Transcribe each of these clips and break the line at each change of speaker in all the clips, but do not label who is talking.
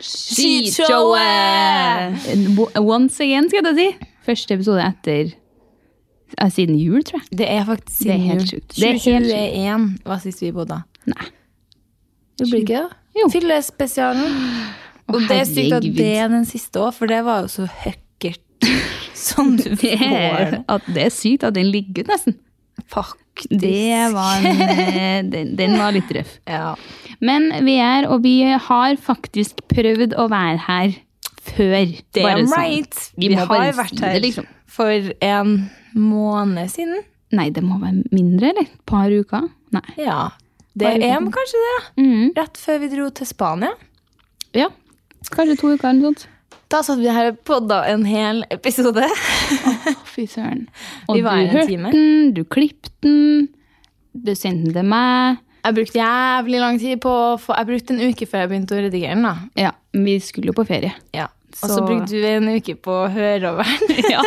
Skishowet!
Eh, Once again, skal jeg ta si. Første episode etter eh, Siden jul, tror jeg.
Det er faktisk
Det er
siden
helt
jul.
sjukt.
Det er helt sjukt.
2021
2021 var sist vi bodde.
Nei.
Det blir ikke det?
Jo.
Fyllespesialen. Og det er sykt at
herregud.
det er den siste òg, for det var jo så høkkert som du
Det er,
får.
at det er sykt at den ligger ut, nesten.
Faktisk.
Det var en, eh, den, den var litt røff.
Ja.
Men vi er, og vi har faktisk prøvd å være her før. Bare
Damn
sånn.
right. Vi,
Vi må
har
bare
vært
si det,
her
liksom.
for en måned siden.
Nei, det må være mindre, eller? Et par uker? Nei.
Ja. Det
Bare
er
liten.
EM, kanskje det? ja.
Mhm.
Rett før vi dro til Spania.
Ja. Kanskje to uker eller noe sånt.
Da satt vi her og podda en hel episode.
Fy søren.
Vi var her en time.
den, du klippet den, du sendte den til meg.
Jeg brukte jævlig lang tid på å få Jeg brukte en uke før jeg begynte å redigere den, da.
Ja, men vi skulle jo på ferie.
Ja. Og så
Så-
brukte du en uke på å høre over den.
Ja.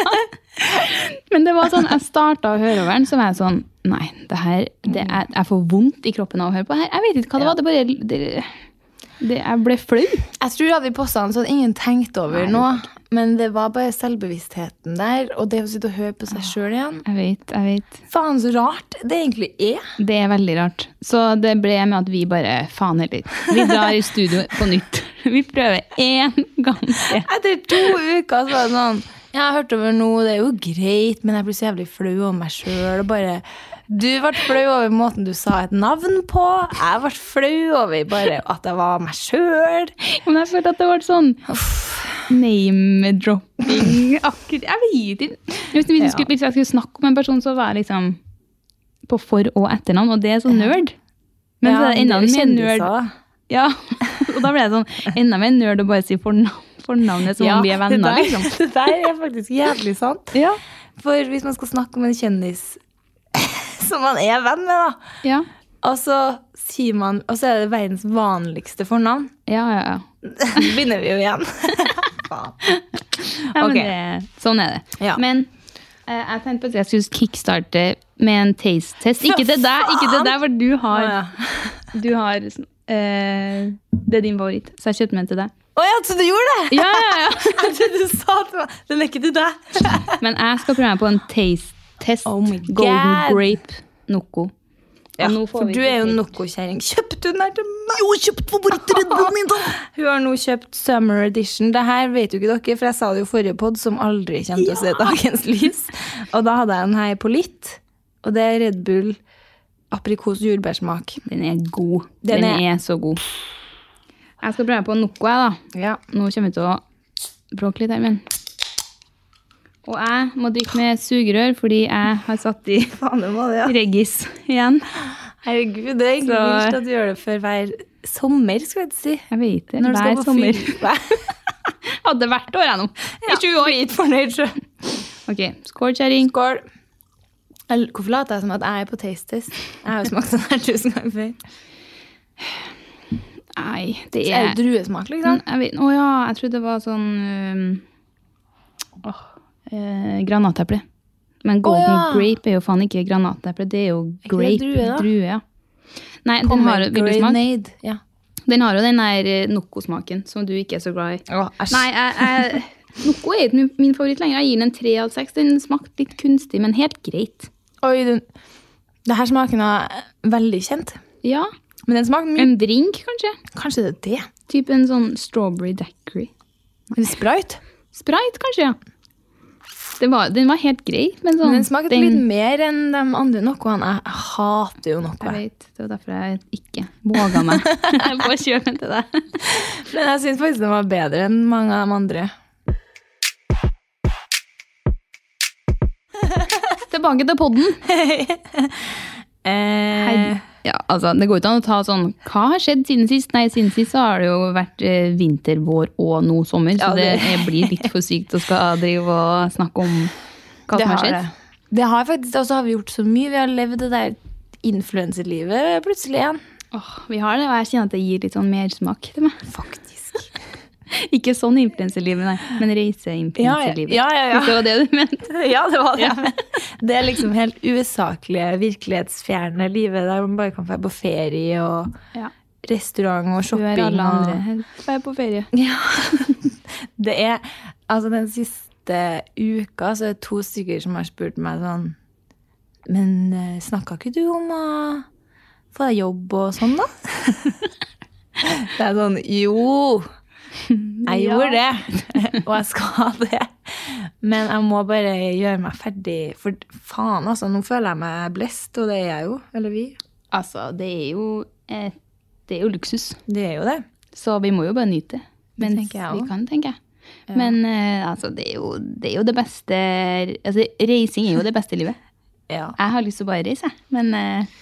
Men det var sånn, jeg starta å høre over den, så var jeg sånn Nei, det her, det er, jeg får vondt i kroppen av å høre på det her. Jeg vet ikke hva det var. Det bare det, det, Jeg ble flau.
Jeg tror at vi posta den, så hadde ingen tenkt over noe. Men det var bare selvbevisstheten der, og det å sitte og høre på
Ah.
seg sjøl igjen.
Jeg vet, jeg vet.
Faen, så rart det egentlig er.
Det er veldig rart. Så det ble med at vi bare Faen heller. Vi drar i studio på nytt. Vi prøver én gang til.
Etter to uker så var det sånn Jeg har hørt over noe, det er jo greit, men jeg blir så jævlig flau over meg sjøl. Bare Du ble flau over måten du sa et navn på. Jeg ble flau over bare at jeg var meg sjøl.
Men jeg følte at det var sånn name-dropping. Akkurat, Jeg vet ikke. Hvis, hvis, jeg skulle, hvis jeg skulle snakke om en person, så var jeg liksom på for- og etternavn, og det er så nerd. Men så er det enda mer nerd. Ja, og da ble jeg sånn enda mer nerd å bare si fornavn, fornavnet som om vi er
det,
venner.
der,
liksom.
det der er faktisk jævlig sant.
Ja.
For hvis man skal snakke om en kjendis som man er venn med, da,
Ja.
og så, sier man, og så er det verdens vanligste fornavn,
Ja, ja, ja.
begynner vi jo igjen.
Nei, men
Ok.
det, sånn er det.
Ja.
Men eh, jeg tenkte på at jeg skulle kickstarte med en taste-test. Ikke det der, ikke det der hvor du har,
Å, ja.
du har eh, Det er din favoritt, så jeg kjøpte meg en til deg.
Å ja, så du gjorde det?
Ja, ja, ja.
Jeg trodde du sa til meg Den er ikke til deg.
Men jeg skal prøve meg på en taste-test.
Oh my
Golden
God.
grape Noco. Og nå får
for
vi
du
ikke
er jo
taste.
Noco-kjerring. Kjøpte hun den til meg? Jo, kjøpt favorittredden min, da! Hun har nå kjøpt Summer Edition. Det her vet jo ikke dere, for jeg sa det jo i forrige pod, som aldri kommer til å se dagens lys. Og da hadde jeg en her på litt, og det er Red Bull aprikos jordbærsmak.
Den er god.
Den
Den,
er-
er... så god. Jeg skal prøve på Noco, jeg, da.
Ja.
Nå kommer vi til å bråke litt her, men Og jeg må drikke med sugerør fordi jeg har satt i
Faen, det var det, ja.
Reggis igjen.
Herregud, det er egentlig
Så-
vilt at du gjør det før hver sommer, skal jeg ikke si.
Jeg vet det.
Når du
Hver
skal på
sommer.
fyr.
Hadde hvert år, jeg nå. I 20 år.
Ikke fornøyd, sjø.
Ok, skål, kjerring.
Skål. Eller, Hvorfor later jeg som at jeg er på taste test? Jeg har jo smakt sånn her tusen ganger før.
Nei, det
Det er
er
jo druesmak, liksom.
Mm, jeg vet- Å ja, jeg trodde det var sånn um, åh, eh, Granateple. Men golden
ja.
grape er jo faen ikke granateple, det er jo
ikke
grape.
det drue, da?
ja. Nei, den har, jo- vil du smake?
Pomegranate, Ja.
den har jo den der eh, Nocco-smaken som du ikke er så glad i.
Å, æsj.
Nei, jeg, jeg, Nocco er ikke min- min favoritt lenger. Jeg gir den en tre av seks. Den smakte litt kunstig, men helt greit.
Oi, den, det her smaker noe veldig kjent.
Ja.
Men den smaker mye
En drink, kanskje?
Kanskje det er det?
Typ en sånn strawberry daiquiri.
En sprite?
Sprite, kanskje, ja. Den var, den var helt grei, men sånn
Men den smaker
den-
litt mer enn de andre nokoene. Jeg hater jo noe.
Jeg vet, Det var derfor jeg ikke våga meg på å kjøpe den til deg.
Men jeg syns faktisk den var bedre enn mange av de andre.
Tilbake til podden.
Eh,
Ja, altså, det går ikke an å ta sånn Hva har skjedd siden sist? Nei, siden sist så har det jo vært eh, vinter, vår og nå sommer, så
Ja,
det,
det-
er- blir litt for sykt å skal drive og snakke om hva som har skjedd.
det. Det har faktisk, og så har vi gjort så mye. Vi har levd det der influenserlivet plutselig igjen.
Åh, vi har det, og jeg kjenner at det gir litt sånn mersmak til meg. Faktisk. ikke sånn influenserlivet, nei, men reiseinfluenserlivet.
Ja, ja, ja, ja.
Hvis det var det du mente.
Ja, det var det. Det er liksom helt usaklige, virkelighetsfjerne livet der man bare kan dra på ferie og
Ja.
restaurant og
Du
shopping.
er alle
og-
andre. Vær på ferie.
Ja. Det er Altså, den siste uka så er det to stykker som har spurt meg sånn Men eh, snakka ikke du om å få deg jobb og sånn, da? det er sånn Jo! Jeg gjorde det. Og jeg skal det. Men jeg må bare gjøre meg ferdig. For faen, altså. Nå føler jeg meg blest, og det er jeg jo. Eller vi.
Altså, det er jo, eh, det er jo luksus,
Det er jo det.
så vi må jo bare nyte det. Mens
tenker jeg
vi
også.
kan, tenker jeg. Men eh, altså, det er, jo, det er jo det beste altså, Reising er jo det beste livet.
Ja.
Jeg har lyst til å bare reise, jeg. men eh,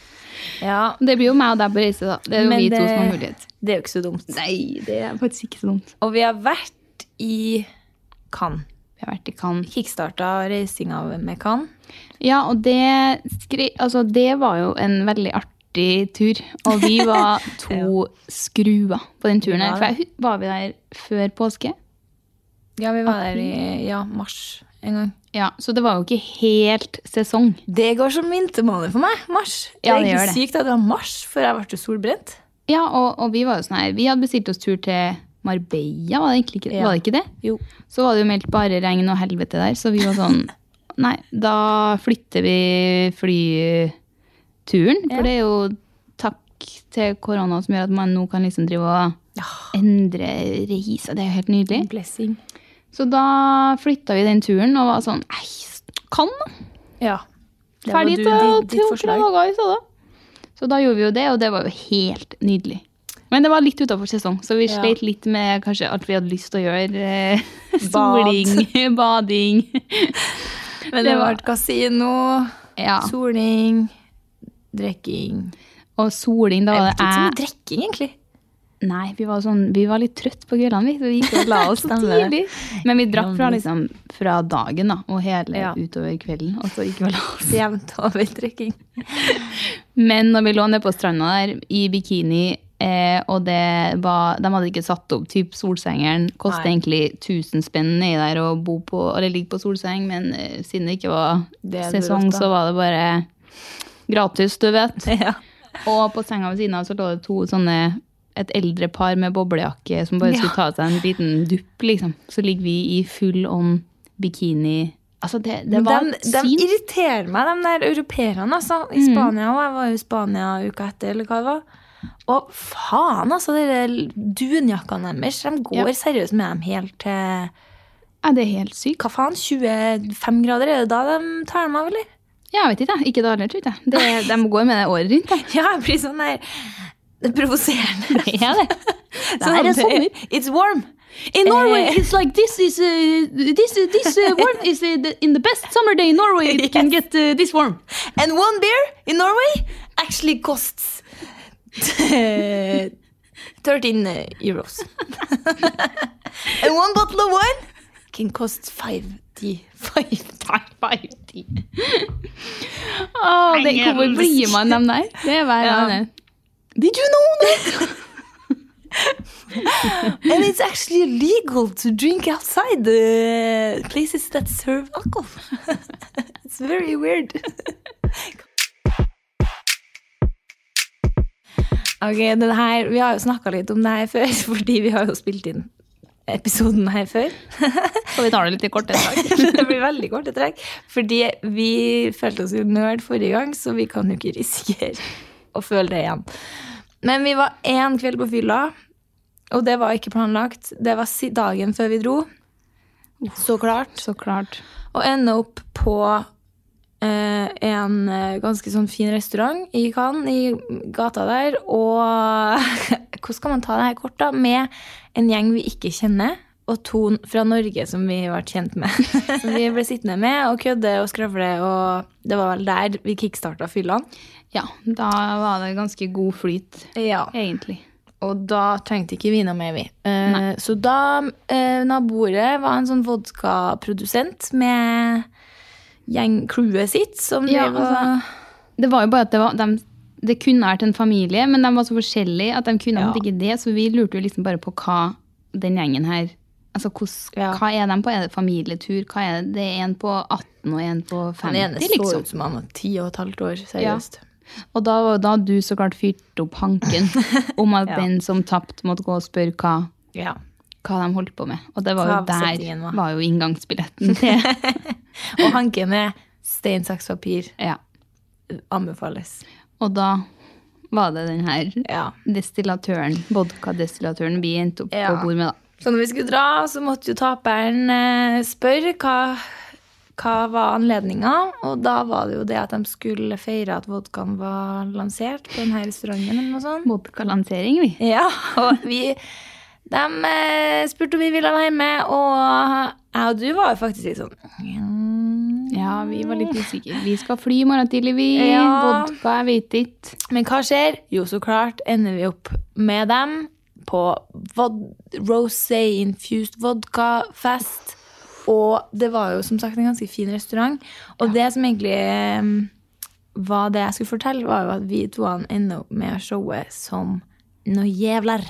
ja.
det blir jo meg og deg på reise, da. Det er jo
Men
vi to
det-
som har mulighet.
Det er jo ikke så dumt.
Nei, det er faktisk ikke så dumt.
Og vi har vært i Cannes.
Vi har vært i Cannes.
Kickstarta reisinga med Cannes.
Ja, og det, skri, altså, det var jo en veldig artig tur. Og vi var to skruer på den turen her.
Vi
For jeg,
var
hu- var vi der før påske?
Ja, vi var der i ja, mars en gang.
Ja, Så det var jo ikke helt sesong.
Det går som vintermåned for meg. Mars.
Ja, det
det er
gjør
egentlig
det.
sykt at det var mars, for jeg ble jo solbrent.
Ja, og, og vi var jo sånn her, vi hadde bestilt oss tur til Marbella, var det egentlig ikke,
Ja.
var det, ikke det?
Jo.
Så var det jo meldt bare regn og helvete der, så vi var sånn Nei, da flytter vi flyturen, for det er jo takk til korona som gjør at man nå kan liksom drive og endre reise. Det er jo helt nydelig.
Blessing.
Så da flytta vi den turen og var sånn Ei, kan da!
Ja. Det var
Ferdig
du-
til
ditt- ditt
til tre
forslag.
dager i stedet. Så da gjorde vi jo det, og det var jo helt nydelig. Men det var litt utafor sesong, så vi
Ja.
sleit litt med kanskje alt vi hadde lyst til å gjøre. eh,
Bad.
Soling, bading.
Men
Det
det
var-
var kasino,
Ja.
soling, drikking
Og soling, da
Jeg
var
vet ikke så
det
mye
jeg
drikking, egentlig.
Nei, vi var, sånn, vi var litt trøtt på kveldene, vi. Så vi gikk og la oss så
Stemmer
tidlig.
det.
Men vi drakk fra, liksom, fra dagen da, og hele
Ja.
utover kvelden. Og så gikk vi og la oss.
Jevnt over drikking.
Men når vi lå nede på stranda der i bikini, eh, og det var, de hadde ikke satt opp typ solsengeren, kostet
Nei.
egentlig 1000 spenn nedi der å bo på, eller ligge på solseng, men eh, siden det ikke var
Det er det
sesong,
rått, da.
så var det bare gratis, du vet.
Ja.
Og på senga ved siden av så lå det to sånne et eldre par med boblejakke som bare skulle ta seg en liten dupp, liksom. Så ligger vi i full ånd, bikini Altså, det, det var
De,
et
de
syn.
irriterer meg, de der europeerne, altså. I
Mm.
Spania òg. Jeg var jo i Spania uka etter, eller hva det var. Og faen, altså. De der dunjakkene deres. De går
Ja.
seriøst med dem helt til
Ja, det er helt sykt.
Hva faen, 25 grader? Er det da de tar dem av, eller?
Ja, jeg vet ikke. jeg. Ikke det heller, tror jeg. Det, de går med det året rundt. jeg.
Ja, jeg blir sånn der Det er provoserende.
Det er det. Det
Sånn,
her er sommer. Eh,
It's warm.
In
Norway,
it's like this is uh, this, uh, warm is in the best summer day in Norway it can get uh, this warm.
And one beer in Norway actually costs eh, 13 euros. And one bottle of wine can cost 5 ti. Five.
Five by ti. Åh, det, hvor blir man dem der? Det er hver
Ja.
gang. det.
Did you know that? and it's actually legal to drink outside the places that serve alcohol. it's very weird. Ok, den her, Vi har jo snakka litt om det her før, fordi vi har jo spilt inn episoden her før.
Og vi tar det litt i korte trekk.
det blir veldig korte trekk. Fordi vi følte oss jo nerd forrige gang, så vi kan jo ikke risikere å føle det igjen. Men vi var én kveld på fylla, og det var ikke planlagt. Det var si- dagen før vi dro. Så klart.
Så klart.
Og ende opp på eh, en eh, ganske sånn fin restaurant i Cannes, i gata der. Og hvordan skal man ta det her kort, da? Med en gjeng vi ikke kjenner, og to fra Norge som vi ble kjent med. Som vi ble sittende med og kødde og skravle, og det var vel der vi kickstarta fyllene.
Ja, da var det ganske god flyt,
Ja.
egentlig.
Og da trengte ikke vi noe mer, vi. Eh, så da eh, Naboret var en sånn vodkaprodusent med gjengcrewet sitt som
Ja,
drev og
altså, Det var jo bare at det var dem- det kunne vært en familie, men de var så forskjellige at de kunne
Ja.
på en måte ikke det. Så vi lurte jo liksom bare på hva den gjengen her Altså, hvordan,
Ja.
Hva er de på? Er det familietur? Hva er det? det er en på 18 og en på 50,
Han ene så
liksom.
ut som han var ti og et halvt år, seriøst.
Og da var jo da du så klart fyrte opp hanken om at
Ja.
den som tapte, måtte gå og spørre hva,
Ja.
hva de holdt på med. Og det var jo
Hva settingen
der
var.
var. jo inngangsbilletten til
Og hanken er stein, saks, papir.
ja.
Anbefales.
Og da var det den her
Ja.
destillatøren, vodkadestillatøren vi endte opp
Ja.
på bord med, da.
Så når vi skulle dra, så måtte jo taperen eh, spørre hva, hva var anledninga. Og da var det jo det at de skulle feire at vodkaen var lansert på denne restauranten. eller noe sånt.
Vodkalansering, vi.
Ja, og vi De eh, spurte om vi ville være med, og jeg og du var jo faktisk litt sånn
Ja, vi var litt usikre. Vi skal fly i morgen tidlig, vi.
Ja.
Vodka, jeg vet ikke.
Men hva skjer? Jo, så klart ender vi opp med dem på vod rosé-infused vodka-fest. Og det var jo som sagt en ganske fin restaurant. Og det som egentlig eh, var det jeg skulle fortelle, var jo at vi to ender opp med showet som noe jævler.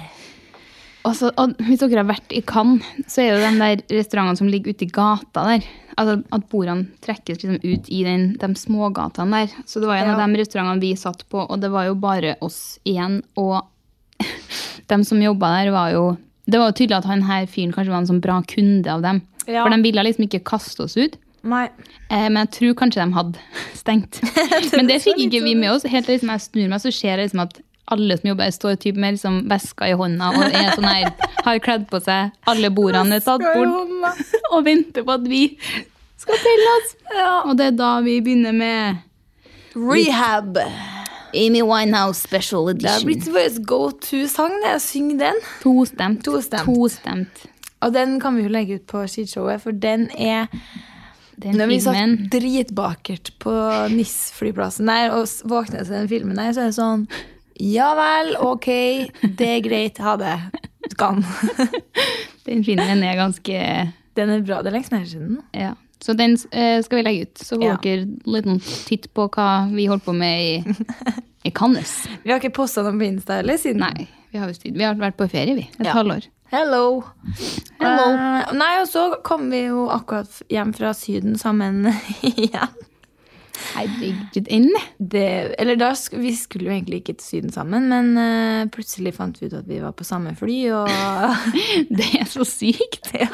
Og så- Altså, og hvis dere har vært i Cannes, så er jo de der restaurantene som ligger ute i gata der. Altså At bordene trekkes liksom ut i den, de smågatene der. Så det var en
Ja.
av de restaurantene vi satt på, og det var jo bare oss igjen. Og de som jobba der, var jo Det var jo tydelig at han her fyren kanskje var en sånn bra kunde av dem.
Ja.
For de ville liksom ikke kaste oss ut.
Nei.
Eh, men jeg tror kanskje de hadde stengt. Men det fikk ikke vi med oss. Helt til liksom jeg snur meg, så ser jeg liksom at alle som jobber her, står typ med liksom veska i hånda og er sånn her, har kledd på seg. Alle bordene er tatt bort og venter på at vi skal telle oss. Og det er da vi begynner med
Rehab.
Amy Winehouse Special
Det har blitt vår go to-sang, det. å Synge den.
Tostemt.
Tostemt.
Tostemt.
Og den kan vi jo legge ut på skishowet, for den er
Det er
Når
en
vi
fin
satt
menn.
dritbakert på NIS-flyplassen der og s- våknet til den filmen der, så er det sånn Ja vel, ok, det er greit, ha det. Kan.
Den filmen er ganske
Den er bra. Det er lenge siden nå.
Ja. Så den eh, skal vi legge ut. Så får
Ja.
dere liten titt på hva vi holdt på med i, i Cannes.
Vi har ikke posta noe på Insta heller siden.
Nei, vi har, visst tid. vi har vært på ferie, vi. Et
Ja.
halvår.
Hello.
Hello.
Eh, nei, og så kom vi jo akkurat f- hjem fra Syden sammen igjen.
Herregud, inne.
Det, eller da, sk- vi skulle jo egentlig ikke til Syden sammen, men eh, plutselig fant vi ut at vi var på samme fly, og
Det er så sykt.
ja,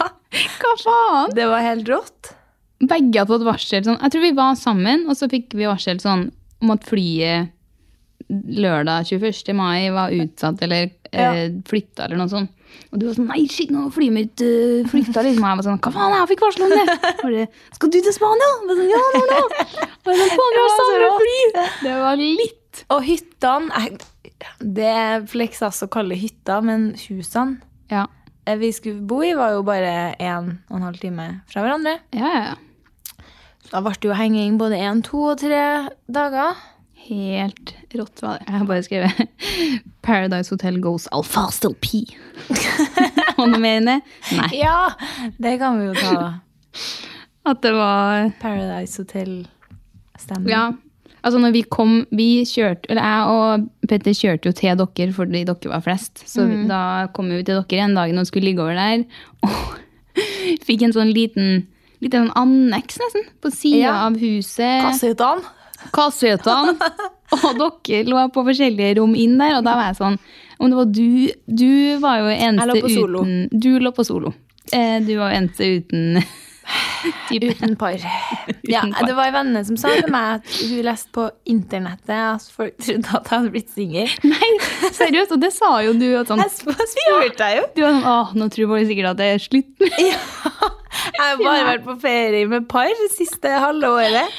Hva faen?
det var helt rått.
Begge hadde fått varsel sånn. Jeg tror vi var sammen, og så fikk vi varsel sånn om at flyet lørdag 21. mai var utsatt eller eh, flytta eller noe sånt. Og du var sånn Nei, shit, nå har flyet mitt uh, flytta, liksom. Og jeg var sånn Hva faen, jeg fikk varsel om det. Bare, Skal du til Spania? Og jeg var sånn, ja, nå, nå. Og jeg var sånn, faen, vi har
Det var så
samme
rått.
fly. Det var litt
Og hyttene eh, Det flekser altså å kalle hytta, men husene
Ja,
eh, vi skulle bo i, var jo bare en og en halv time fra hverandre.
ja, ja. ja.
Da ble det jo henging både én, to og tre dager.
Helt rått var det. Jeg har bare skrevet 'Paradise Hotel goes alpha still P'. Og noe mer enn det? Nei.
Ja, det kan vi jo ta.
At det var
Paradise Hotel-stemning.
Ja. Altså når vi kom, vi kjørte, eller jeg og Petter kjørte jo til dere fordi dere var flest. Så vi- da kom vi jo til dere en dag når vi skulle ligge over der, og fikk en sånn liten, liten sånn anneks nesten, på siden
Ja.
av huset.
Kassehyttene.
Kassehyttene. og dere lå på forskjellige rom inn der, og da var jeg sånn, om det var du, du var jo eneste
Jeg lå på solo.
uten, du lå på solo. Eh, Du var jo eneste uten, typ,
Uten par. Ja,
par.
det var en venninne som sa til meg at hun leste på internettet at folk trodde at jeg hadde blitt singel.
nei, seriøst, og det sa jo du, og sånn,
Jeg spurte jeg jo.
Du var sånn, åh, nå tror folk sikkert at det er slutt.
Ja. Jeg har bare vært på ferie med par det siste halve året.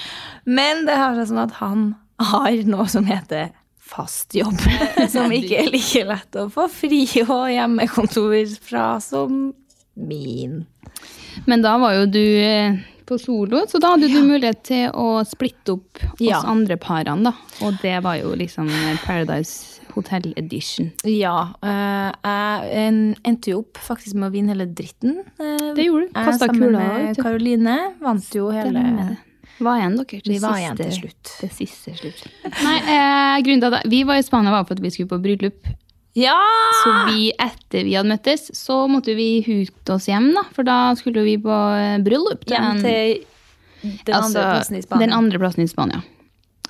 Men det har seg sånn at han har noe som heter fast jobb. Som ikke er like lett å få fri og hjemmekontor fra som min.
Men da var jo du eh, på solo, så da hadde du mulighet til å splitte opp oss
Ja.
andre parene, da. Og det var jo liksom eh, Paradise Hotel Edition.
Ja. eh, jeg en- endte jo opp faktisk med å vinne hele dritten. eh,
Det gjorde du.
jeg
Kastet
sammen
kula, vet
med
du.
Karoline. Vant jo hele
Hva igjen dere til
Vi var igjen
siste-
til slutt.
Til siste slutt. Nei, eh, grunnen til at jeg- vi var i Spania var for at vi skulle på bryllup.
Ja!
Så
Ah!
vi, etter vi hadde møttes, så måtte vi hute oss hjem, da. For da skulle vi på eh, bryllup. til en-
Hjem til den
Altså,
andre plassen i Spania.
Den andre plassen i Spania.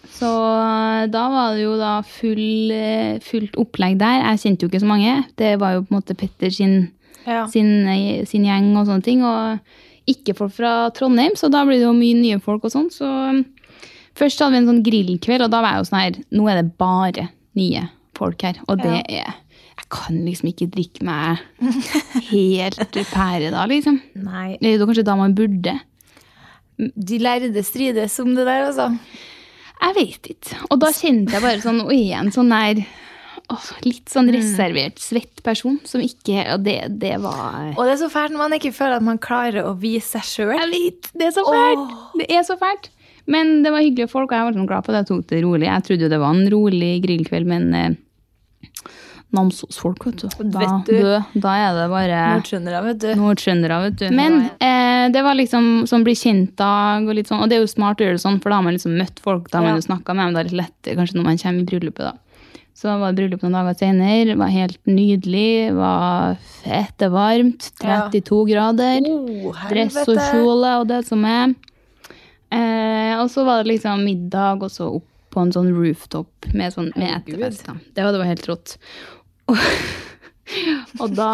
Så eh, da var det jo da full, eh, fullt opplegg der. Jeg kjente jo ikke så mange. Det var jo på en måte Petter sin,
Ja.
sin, eh, sin gjeng og sånne ting. Og ikke folk fra Trondheim, så da blir det jo mye nye folk og sånn. Så um, først hadde vi en sånn grillkveld, og da var jeg jo sånn her Nå er det bare nye folk her. Og det er Jeg kan liksom ikke drikke meg helt pære da, liksom.
Nei.
Det er jo kanskje da man burde.
De lærde strides om det der, altså.
Jeg vet ikke. Og da kjente jeg bare sånn Oi, en sånn der åh, Litt sånn reservert, svett person som ikke Og det, det var
Og det er så fælt når man ikke føler at man klarer å vise seg sjøl.
Jeg vet! Det er så fælt! Det er så fælt. Men det var hyggelige folk, og jeg var sånn glad på det. Jeg tok det rolig. Jeg trodde jo det var en rolig grillkveld, men eh, Namsos-folk, vet du. Da,
Vet du.
dø, da er det bare
Nordtrøndere, vet du.
Nordtrøndere, vet du. Men eh, det var liksom sånn bli kjent-dag, og litt sånn, og det er jo smart å gjøre det sånn, for da har man liksom møtt folk, da har man jo snakka med dem, det er litt lettere kanskje når man kommer i bryllupet, da. Så var det bryllup noen dager senere, det var helt nydelig, det var fette varmt, 32 grader,
Oh,
dress og
helvete.
kjole og det som er. Eh, og så var det liksom middag, og så opp på en sånn rooftop med, sånn, med etterfest. da. Det var, det var helt rått. Og, og da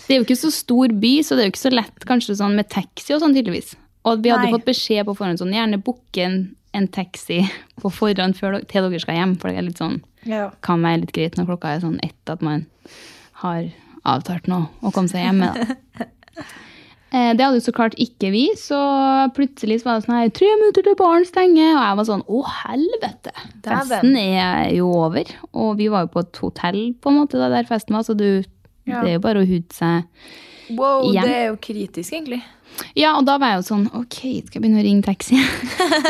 Det er jo ikke så stor by, så det er jo ikke så lett kanskje sånn med taxi og sånn, tydeligvis. Og vi hadde
Nei.
fått beskjed på forhånd sånn, gjerne booke en, en taxi på forhånd før, dere- til dere skal hjem, for det er litt sånn
Ja.
kan være litt greit når klokka er sånn ett, at man har avtalt noe og kommet seg hjemme. Da. Eh, Det hadde jo så klart ikke vi, så plutselig så var det sånn her Tre minutter til baren stenger! Og jeg var sånn Å, helvete!
Dæven.
Festen er jo over. Og vi var jo på et hotell, på en måte, da, der festen var, så du Det er jo bare å hute seg
Wow,
Igjen.
det er jo kritisk, egentlig.
Ja, og da var jeg jo sånn Ok, skal jeg begynne å ringe taxi?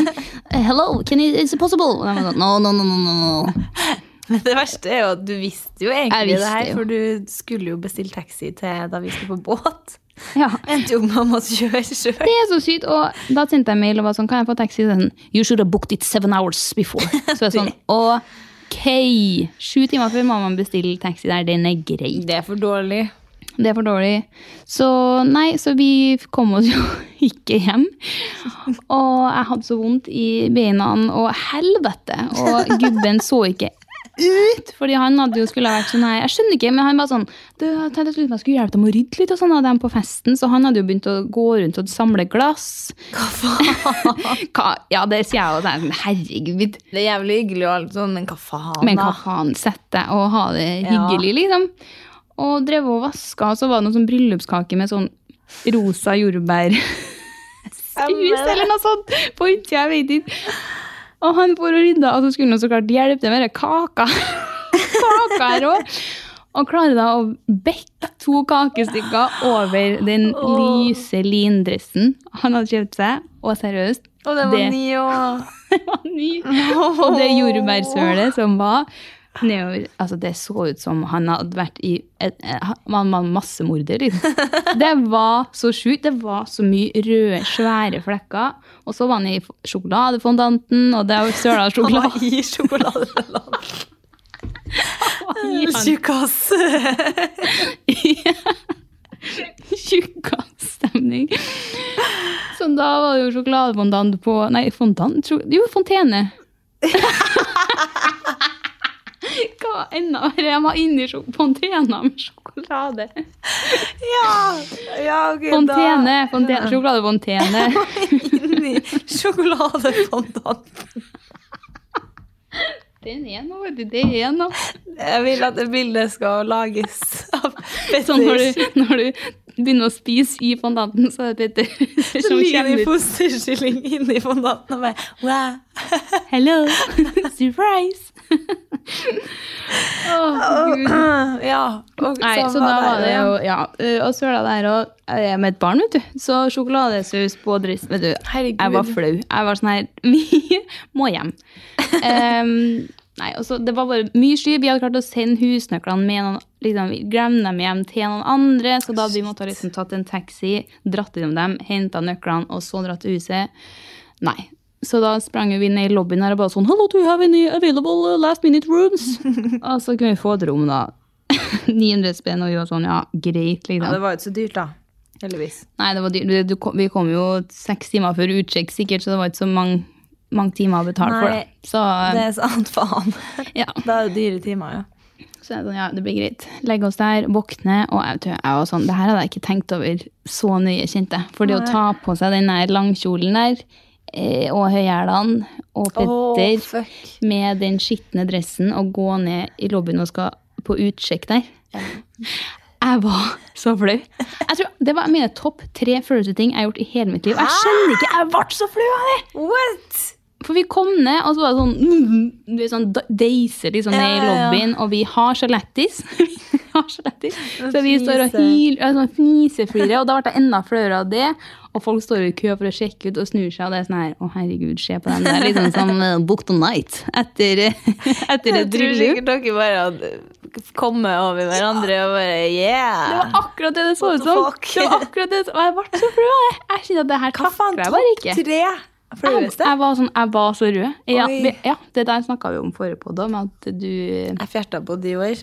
Hello, can you, is it possible? Og de var sånn No, no, no, no, no, no.
Men det verste er jo at du visste jo egentlig
Jeg visste
det her,
jo.
for du skulle jo bestille taxi til da vi skulle på båt.
Ja.
Endte jo med å måtte kjøre sjøl.
Det er så sykt. Og da sendte jeg mail og var sånn, kan jeg få taxi? Så er det Sånn, you should have booked it seven hours before. Så jeg er sånn, ok. Sju timer før må man bestille taxi der. Den er grei.
Det er for dårlig.
Det er for dårlig. Så nei, så vi kom oss jo ikke hjem. Og jeg hadde så vondt i beina, og helvete! Og gubben så ikke ut, fordi han hadde jo skulle ha vært sånn her, jeg skjønner ikke, men han var sånn du, jeg tenkte at jeg skulle hjelpe dem å rydde litt og sånn av dem på festen, så han hadde jo begynt å gå rundt og samle glass. Hva faen? ja, det sier jeg jo, så er jeg sånn, herregud.
Det er jævlig hyggelig og alt sånn, men hva faen,
Men hva
da?
faen, sett deg og ha det hyggelig, liksom. Og drev og vaska, og så var det noe sånn bryllupskake med sånn rosa jordbær Hus eller noe sånt på utsida, jeg vet ikke. Og han for og rydda, og så skulle han så klart hjelpe til med den kaka. kaka her også. Og klarer da å bekke to kakestykker over den lyse lindressen han hadde kjøpt seg. Og seriøst,
Og det var ni og
det var ny. Og det jordbærsølet som var nedover. Altså, det så ut som han hadde vært i et, eh, Han var massemorder, liksom. Det var så sjukt. Det var så mye røde, svære flekker. Og så var han i sjokoladefondanten, og det var søla
Han
sjokolade.
var i sjokoladeland.
Han-
Tjukkas.
Tjukkastemning. Så da var det jo sjokoladefondant på Nei, fondant? Sjo- Jo, fontene. Hva enda verre? Jeg var inni sjok- fontena med sjokolade.
Ja, ja ok,
Fontene, fontene, sjokoladefontene.
Inni sjokoladefondant.
Den er noe, vet du. Det er noe.
Jeg vil at det bildet skal lages av Petter.
Sånn når du, når du begynner å spise i fondanten, så er det Petter
Så
som
ligger det
kommer
en
ut.
fosterskilling inni fondanten og bare wow.
Hello! Surprise! Åh, Gud.
Ja. og
Nei,
sånn
så da var det
ja.
jo Ja, ø, og søla der og jeg er med et barn, vet du. Så sjokoladesaus på dress Vet du,
Herregud.
jeg var flau. Jeg var sånn her Vi må hjem. Ehm, nei, og så Det var bare mye sky. Vi hadde klart å sende husnøklene med noen liksom, vi Glemme dem hjem til noen andre, så da hadde vi måttet liksom tatt en taxi, dratt innom dem, henta nøklene og så dratt til huset. Nei. Så da sprang vi ned i lobbyen her og bare sånn Hello, do you have any available uh, last minute rooms? og så kunne vi få et rom, da. 900 spenn, og vi var sånn Ja, greit, liksom.
Ja, Det var jo ikke så dyrt, da. Heldigvis.
Nei, det var dyrt. Du- du kom- Vi kom jo seks timer før utsjekk sikkert, så det var ikke så mange, mange timer å betale for.
Nei,
Da. Så,
Det er sant, faen.
ja.
Da er det dyre timer, ja.
så jeg er sånn, ja, det blir greit. Legge oss der, våkne, og jeg, tror jeg var sånn, det her hadde jeg ikke tenkt over så nøye, kjente jeg. For det å ta på seg den der langkjolen der, eh, og høyhjælene, og
Åh,
Petter,
fuck.
med den skitne dressen, og gå ned i lobbyen og skal på utsjekk der. Jeg var så flau. Jeg tror Det var mine topp tre flaueste ting jeg har gjort i hele mitt liv. Jeg skjønner ikke, jeg ble så flau av det!
What?
For vi kom ned, og så var det sånn mm, Du er sånn da- deiser liksom ned i
Ja, ja, ja.
lobbyen, og vi har så lættis. Vi har så lættis. Så vi står og
fniser.
hyler, ja, sånn fniseflirer, og da ble jeg enda flauere av det. Og folk står i kø for å sjekke ut og snur seg, og det er sånn her Å, herregud, se på dem. Det er liksom som eh, Book the Night etter, eh, etter et
Jeg tror
bryllup.
sikkert dere bare hadde kommet over hverandre og bare
Det
yeah.
var akkurat det det så
What
ut
the
som.
fuck?
Det var akkurat det, og jeg ble så flau. av det. Jeg kjente at det her takler jeg bare ikke.
tre
Jeg,
flaueste?
jeg, var sånn, jeg var så rød. Ja,
Oi.
vi, ja det der snakka vi om forrige på, da, med at du eh,
Jeg fjerta på Dior.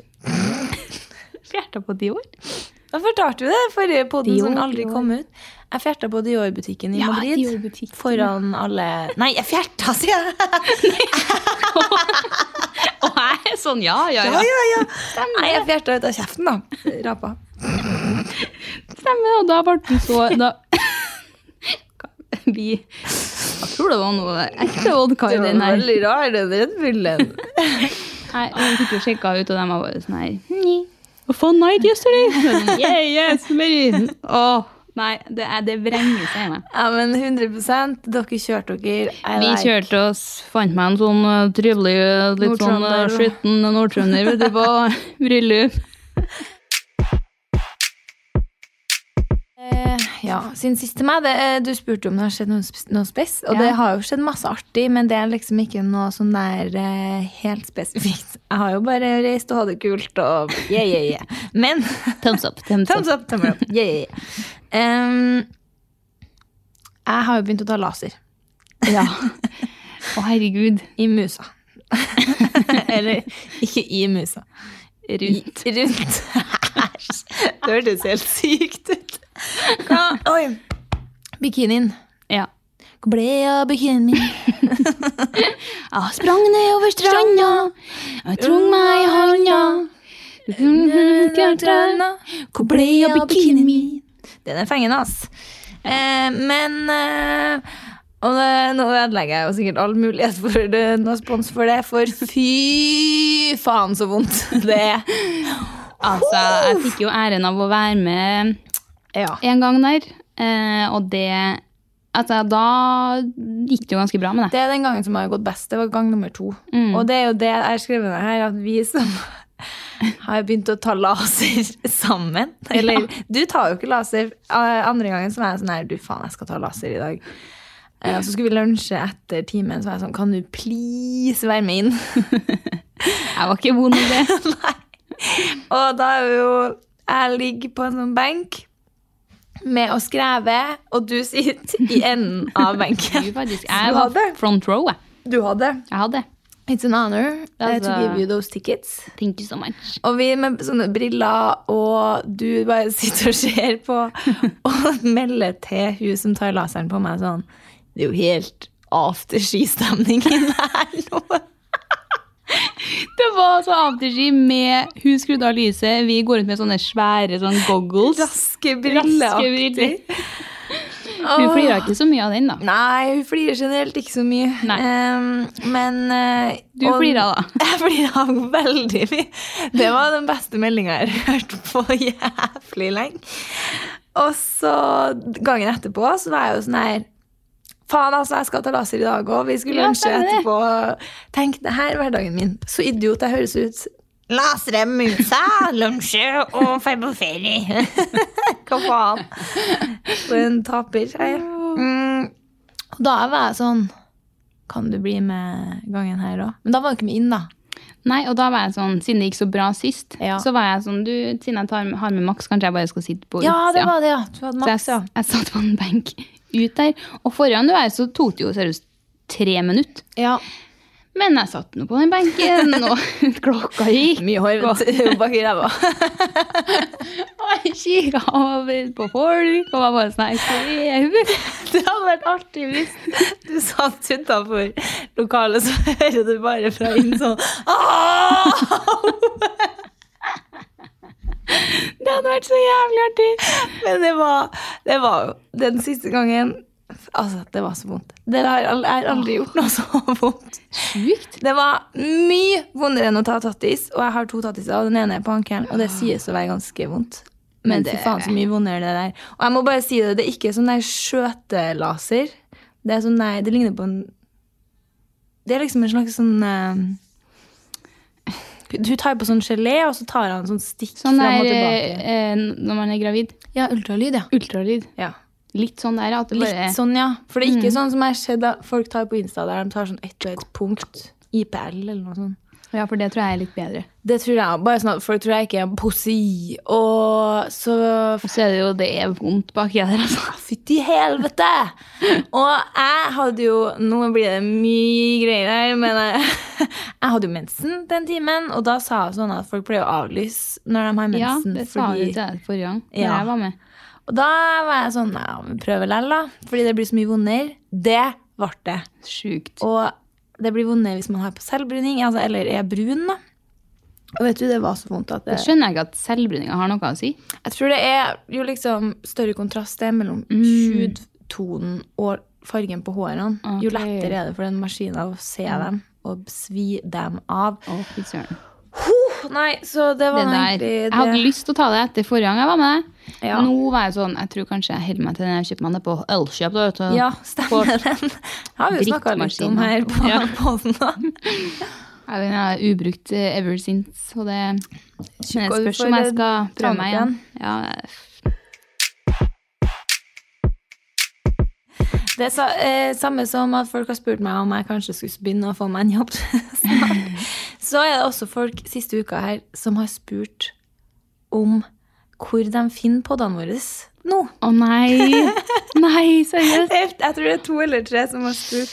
fjerta på de år.
Jeg fortalte jo det i forrige podden som
Dior,
aldri
Dior.
kom ut. Jeg fjerta på Dior-butikken i
Ja,
Madrid.
Dior-butikken.
Foran alle Nei, jeg fjerta, sier jeg!
Og jeg er sånn, ja, ja, ja.
Ja, ja, ja. Nei, jeg fjerta ut av kjeften, da. Rapa.
Stemmer, og da ble du så da, Vi Jeg tror det var noe ekte vodka i den her.
rar, den Red Bullen.
Nei, Vi fikk jo sjekka ut, og de var bare sånn her «Nei, a Fun night yesterday! sånn, Yeah, yes, very. Åh, nei, det, er- det vrenger seg i meg.
Ja, men 100 Dere kjørte dere. I
Vi
like.
kjørte oss, fant meg en sånn eh, trivelig, eh, litt sånn eh,
Nordtrønder.
skitten nordtrønder vet du, på bryllup.
Eh, ja, siden sist til meg, det, eh, du spurte om det har skjedd noe, sp- noe spes, og
Ja.
det har jo skjedd masse artig, men det er liksom ikke noe sånn der eh, helt spesifikt. Jeg har jo bare reist og hatt det kult, og yeah, yeah, yeah. Men,
Thumbs up. Thumbs
thumbs up, thumbs up, yeah, yeah, yeah. Em, jeg har jo begynt å ta laser
Ja. Å, herregud.
i musa. Eller, ikke i musa.
Rundt.
I, rundt. Æsj. det hørtes helt sykt ut. Hva? Oi, bikinien.
Ja.
Hvor ble av bikinien min?
Jeg sprang ned over stranda, jeg trong meg i handa.
Hvor ble av bikinien min? Den er fengende, ass. Eh, men eh, og det, Nå ødelegger jeg jo sikkert all mulighet for det, noe spons for det, for fy faen så vondt det er.
Altså, jeg fikk jo æren av å være med
Ja.
en gang der, eh, og det Altså, da gikk det jo ganske bra med det.
Det er den gangen som har gått best. Det var gang nummer to.
Mm.
Og det er jo det jeg har skrevet ned her, at vi som har begynt å ta laser sammen Eller du tar jo ikke laser. Eh, Andre gangen som er jeg sånn her Du, faen, jeg skal ta laser i dag. Eh, Så skulle vi lunsje etter timen, så var jeg sånn Kan du please være med inn?
Jeg var ikke vond i det.
Og da er vi jo Jeg ligger på en sånn benk med å skreve, og du sitter i enden av benken.
Du, faktisk.
Du
Jeg var
hadde.
front row, jeg.
Du hadde.
Jeg hadde.
It's an honor eh, to
Altså-
give you those tickets.
Thank you so much.
Og vi med sånne briller, og du bare sitter og ser på og melder til hun som tar laseren på meg sånn Det er jo helt afterski-stemning inne her nå.
Det var så afterski med Hun skrudde av lyset, vi går rundt med sånne svære sånn goggles.
Raske brilleaktig.
Hun flirer ikke så mye av den, da.
Nei, hun flirer generelt ikke så mye.
Nei.
Ehm, men eh,
Du flirer da.
Jeg flirer av veldig mye. Det var den beste meldinga jeg har hørt på jævlig lenge. Og så gangen etterpå så var jeg jo sånn her Faen, altså, jeg skal ta laser i dag òg. Vi skulle
Ja,
lunsje
stemmer det.
etterpå. Tenk, det her er hverdagen min. Så idiot jeg høres ut. Lasere, musa, lunsje og feil på ferie. Hva faen? For en taper jeg er. Mm. Og da var jeg sånn Kan du bli med gangen her òg? Men da var du ikke med inn, da.
Nei, og da var jeg sånn, Siden det gikk så bra sist,
Ja.
så var jeg sånn du, Siden jeg tar, har med Max, kanskje jeg bare skal sitte på
Ja, det var det, ja. Du hadde maks,
så
ja.
jeg, jeg satt på en benk ut der. Og foran du er, så tok det jo seriøst tre minutter.
ja.
Men jeg satt nå på den benken, og klokka gikk.
Mye hår bak i ræva.
Og jeg kikka over på folk, og var bare sånn her, Hvor er hun?
Det hadde vært artig hvis du satt utafor lokalet, så hører du bare fra inn sånn «Au!» Det hadde vært så jævlig artig. Men det var, det var jo den siste gangen Altså, det var så vondt. Det har, jeg har aldri gjort noe så vondt.
Sjukt.
Det var mye vondere enn å ta tattis, og jeg har to tattiser, og den ene er på ankelen, og det sies å være ganske vondt. Men fy faen, så mye vondere det der. Og jeg må bare si det, det er ikke sånn der skjøtelaser. Det er sånn, nei, det ligner på en Det er liksom en slags sånn eh, Du tar på sånn gelé, og så tar han sånn stikk
Sånn
fram og
der eh,
tilbake.
eh, når man er gravid.
Ja, ultralyd, ja.
Ultralyd.
ja.
Litt sånn der. At det
Litt
bare, Mm.
sånn, ja. For det er ikke sånn som jeg har sett at folk tar på Insta, der de tar sånn ett og ett punkt. IPL eller noe sånt.
Ja, for det tror jeg er litt bedre.
Det tror jeg. Bare sånn at folk tror jeg ikke er en posi. Og så
Og så er det jo det er vondt baki der, altså.
Fytti helvete! Og jeg hadde jo Nå blir det mye greier her, men jeg, jeg hadde jo mensen den timen. Og da sa jeg sånn at folk pleier å avlyse når de har
Ja,
mensen.
det sa du
fordi-
til deg forrige gang da
Ja.
jeg var med.
Og da var jeg sånn Ja, vi prøver likevel, da. Fordi det blir så mye vondere. Det ble det.
Sjukt.
Og det blir vondere hvis man har på selvbruning, altså, eller er brun, da. Og vet du, det var så vondt at det,
Jeg skjønner ikke at selvbruninga har noe å si.
Jeg tror det er jo liksom større kontrast det er mellom hudtonen og fargen på hårene. Jo
Ok.
lettere er Mm. det for den maskinen å se dem og svi dem av.
Å, fy søren.
Huh, nei, så det
Det
var nå
der.
egentlig
Jeg hadde lyst til å ta det etter forrige gang jeg var med deg.
Ja.
Nå var jeg sånn Jeg tror kanskje jeg holder meg til den jeg kjøper meg ned på Elkjøp. da, vet du.
Ja, stemmer den. Har vi jo snakka litt om
Drittmaskinen.
her på
Ja.
podden da.
Ja, Den er ubrukt eh, ever since, og det Men
og
det
du
spørs
får,
om jeg skal
eh, ta
prøve
den
meg
opp
igjen. Ja,
Det er sa, eh, samme som at folk har spurt meg om jeg kanskje skulle begynne å få meg en jobb snart. Så er det også folk siste uka her som har spurt om hvor de finner podene våre nå.
Å nei! Nei, seriøst?
Jeg tror det er to eller tre som har spurt.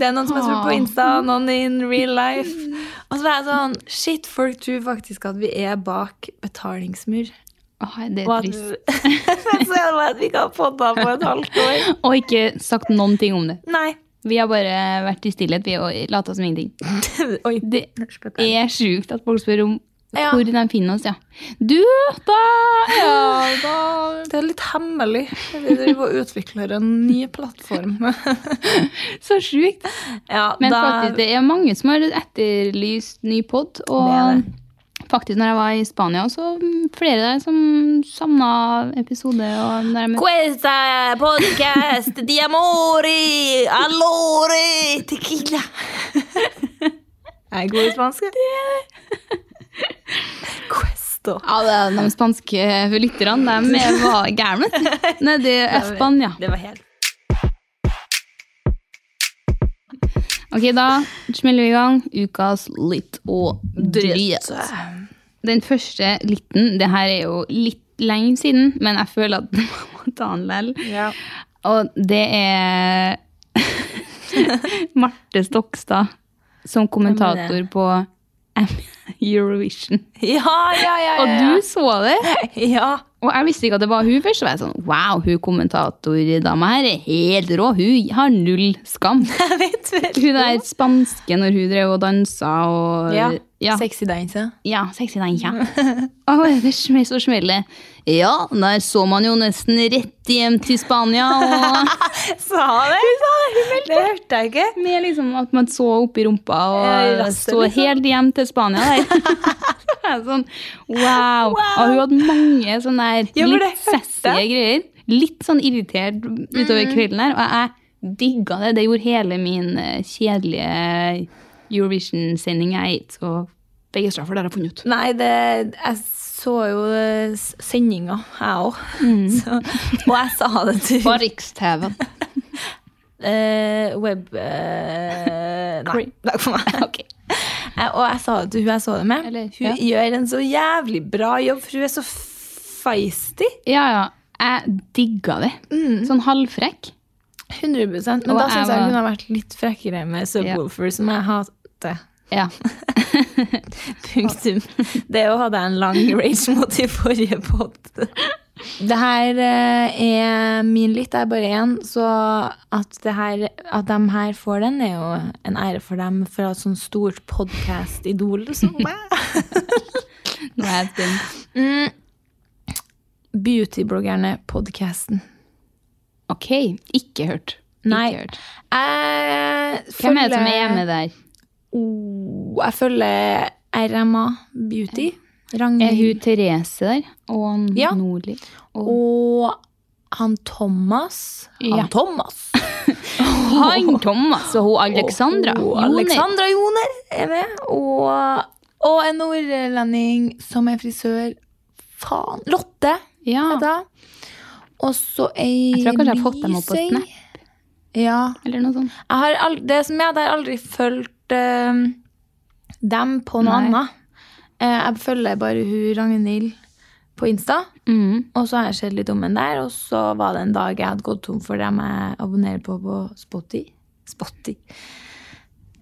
Det er noen som har spurt på
Åh.
Insta, noen in real life. Og så er jeg sånn Shit, folk tror faktisk at vi er bak betalingsmur.
Åh, det
Og
er
at,
trist.
så er det bare at vi ikke har podda på et halvt år.
Og ikke sagt noen ting om det.
Nei.
Vi har bare vært i stillhet vi og lata som ingenting.
Oi.
Det er sjukt at folk spør om
Ja.
hvor de finner oss, ja. Du, da! Ja, da
Det er litt hemmelig. Vi driver og utvikler en ny plattform.
Så sjukt.
ja,
Men
da,
faktisk, det er mange som har etterlyst ny pod. Og faktisk, når jeg var i Spania, så mm, flere der som savna episode. Og når jeg møtte-
Questa podcast di amori, allori, tequila. Jeg er god i spansk. Questo.
ja, det er de spanske lytterne de er- var gærne. Nedi Spania.
Det var helt
Ok, da smeller vi i gang ukas litt og dritt. Den første liten, det her er jo litt lenge siden, men jeg føler at man må ta den likevel.
Ja.
Og det er Marte Stokstad som kommentator på Eurovision.
Ja, ja, ja,
Og
ja,
du så det?
ja. ja.
Og jeg visste ikke at det var hun først, så var jeg sånn Wow, hun kommentatordama her er helt rå. Hun har null skam.
Jeg vet vel.
Hun der spanske når hun drev og dansa og
Ja.
ja.
Sexy dance.
Ja, sexy deg, ja. Åh, det smell så smeller. Ja, der så man jo nesten rett hjem til Spania. Og
Sa det? det hørte jeg ikke.
med liksom at man så oppi rumpa og
Ja, i rasset,
så
liksom.
helt hjem til Spania der. sånn, wow. Og hun hadde mange sånne der
Ja, for det
litt
hørte Mm.
sassige greier. Litt sånn irritert utover kvelden her, og jeg digga det. Det gjorde hele min eh, kjedelige Eurovision-sending jeg ikke så begeistra for, det har jeg funnet ut.
Nei, det, jeg så jo eh, s- sendinga, jeg òg. Og jeg sa det til
På Rikstv.
eh, web... eh, nei, takk for meg.
Ok.
Jeg- Og jeg sa det til hun jeg så det med.
Eller-
hun
ja.
gjør en så jævlig bra jobb, for hun er så feisty.
Ja, ja. Jeg digga det.
Mm.
Sånn halvfrekk.
100 Men
Og
da
jeg
syns jeg
var-
hun har vært litt frekkere med Subwoolfer, som jeg hater.
Ja.
Punktum. Det jo hadde jeg en lang rage mot i forrige pod. Det her eh, er min litt, det er bare én. Så at, det her, at de her får den, er jo en ære for dem fra et sånt stort podkast-idol som meg.
Nå er jeg spent.
Beautybloggerne-podkasten.
Ok, ikke hørt.
Nei.
Ikke hørt.
Jeg
Hvem er
følger-
det som er hjemme der?
Oh, Jeg følger RMA Beauty.
Er
Ragnhild.
hun Therese der? Og
Ja.
Nordli?
Og han Thomas. Han
Ja.
Thomas!
Han Thomas og hun Alexandra.
Og
Joner.
Alexandra Joner er med. Og, og en nordlending som er frisør. Faen. Lotte
Ja.
heter hun. Og så ei
Jeg tror kanskje jeg har fått dem opp på
Lysøy.
Snap.
Ja.
Eller noe sånt.
Jeg har aldri, det som jeg, det har jeg aldri fulgt eh, dem på noe
Nei.
annet. Eh, jeg følger bare hun Ragnhild på Insta.
Mhm.
Og så har jeg sett litt om den der, og så var det en dag jeg hadde gått tom for dem jeg abonnerer på på Spotty. Spotty.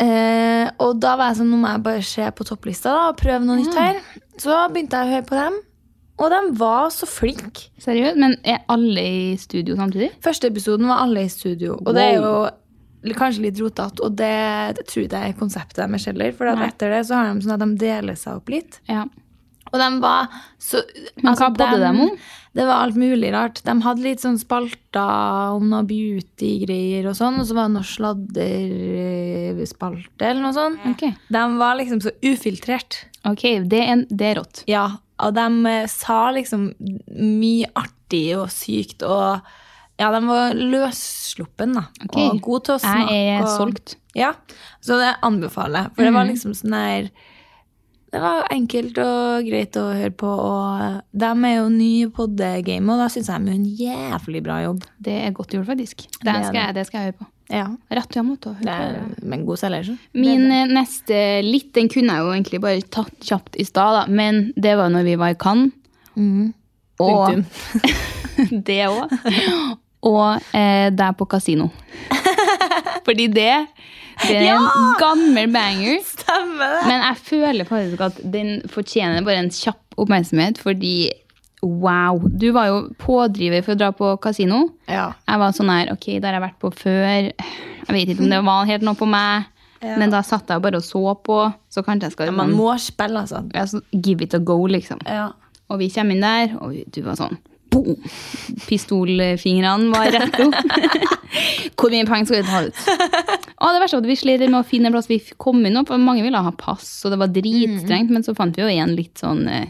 Eh, og da var jeg sånn, nå må jeg bare se på topplista da, og prøve noe nytt her. Så begynte jeg å høre på dem, og de var så flinke.
Seriøst? Men er alle i studio samtidig?
Første episoden var alle i studio, og det er jo li- kanskje litt rotete, og det, det tror jeg det er konseptet deres heller, for at
Nei.
etter det så har de sånn at de deler seg opp litt.
Ja.
Og de var så altså,
Men hva podde
dem-
dem om?
Det var alt mulig rart. De hadde litt sånn spalter om noe beauty-greier og sånn, og så var det noe sladderspalte eller noe sånt.
Ok.
De var liksom så ufiltrert.
Ok, det er, en, det er rått.
Ja, og de eh, sa liksom mye artig og sykt og Ja, de var løssluppen, da.
Ok.
Og god til å snakke.
Jeg er
og,
solgt.
Ja, så det anbefaler jeg. For det var liksom sånn der Det var enkelt og greit å høre på, og de er jo nye på det gamet, og da syns jeg de gjør en jævlig bra jobb.
Det er godt gjort, faktisk. Det
er
skal,
det.
jeg, det skal jeg høre på.
Ja.
Rett hjem mot å høre
Det
på.
er Eh, med en god selger.
Min eh, neste litt, den kunne jeg jo egentlig bare tatt kjapt i stad, da, men det var når vi var i Cannes.
Mm.
Og det òg. Og eh, der på kasino. Fordi det, det er en gammel banger.
Stemmer det!
Men jeg føler faktisk at den fortjener bare en kjapp oppmerksomhet, fordi wow. Du var jo pådriver for å dra på kasino.
Ja.
Jeg var sånn her, ok, det har jeg vært på før. Jeg vet ikke om det var helt noe på meg. Men da satt jeg bare og så på, så kanskje jeg skal
Man må spille, altså.
Ja, så give it a go, liksom.
Ja.
Og vi kommer inn der, og vi- du var sånn boom! Pistolfingrene var rett opp. Hvor mye penger skal vi ta ut? Og det verste var at vi slet med å finne en plass vi f- kom inn opp, og mange ville ha pass, og det var
Mm.
dritstrengt, men så fant vi jo en litt sånn eh,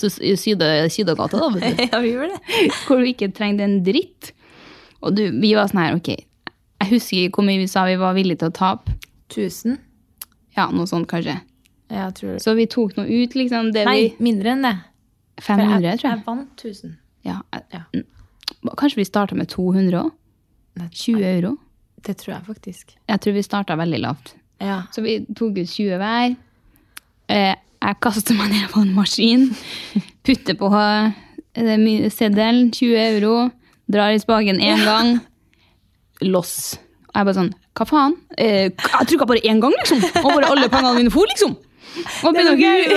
til s- i Syde- Sydagata, da, vet du
ja, vi gjorde det.
hvor du ikke trengte en dritt. Og du, vi var sånn her, ok, jeg husker ikke hvor mye vi sa vi var villige til å tape.
1000.
Ja, noe sånt kanskje.
Jeg tror det.
Så vi tok noe ut, liksom. Det
Nei, mindre enn det.
vi, 500, tror jeg.
Jeg vant 1000.
Ja, jeg-
Ja.
Kanskje vi startet med 200 også? 20 euro?
Det tror jeg faktisk.
Jeg tror vi starta veldig lavt.
Ja.
Så vi tok ut 20 hver. Eh, Jeg kaster meg ned på en maskin, putter på eh, det my- seddelen, 20 euro, drar i spaken én gang, loss. Og jeg bare sånn Hva faen? Eh, Jeg trykka bare én gang, liksom! Og bare alle pengene mine for, liksom! Og begynner å hu-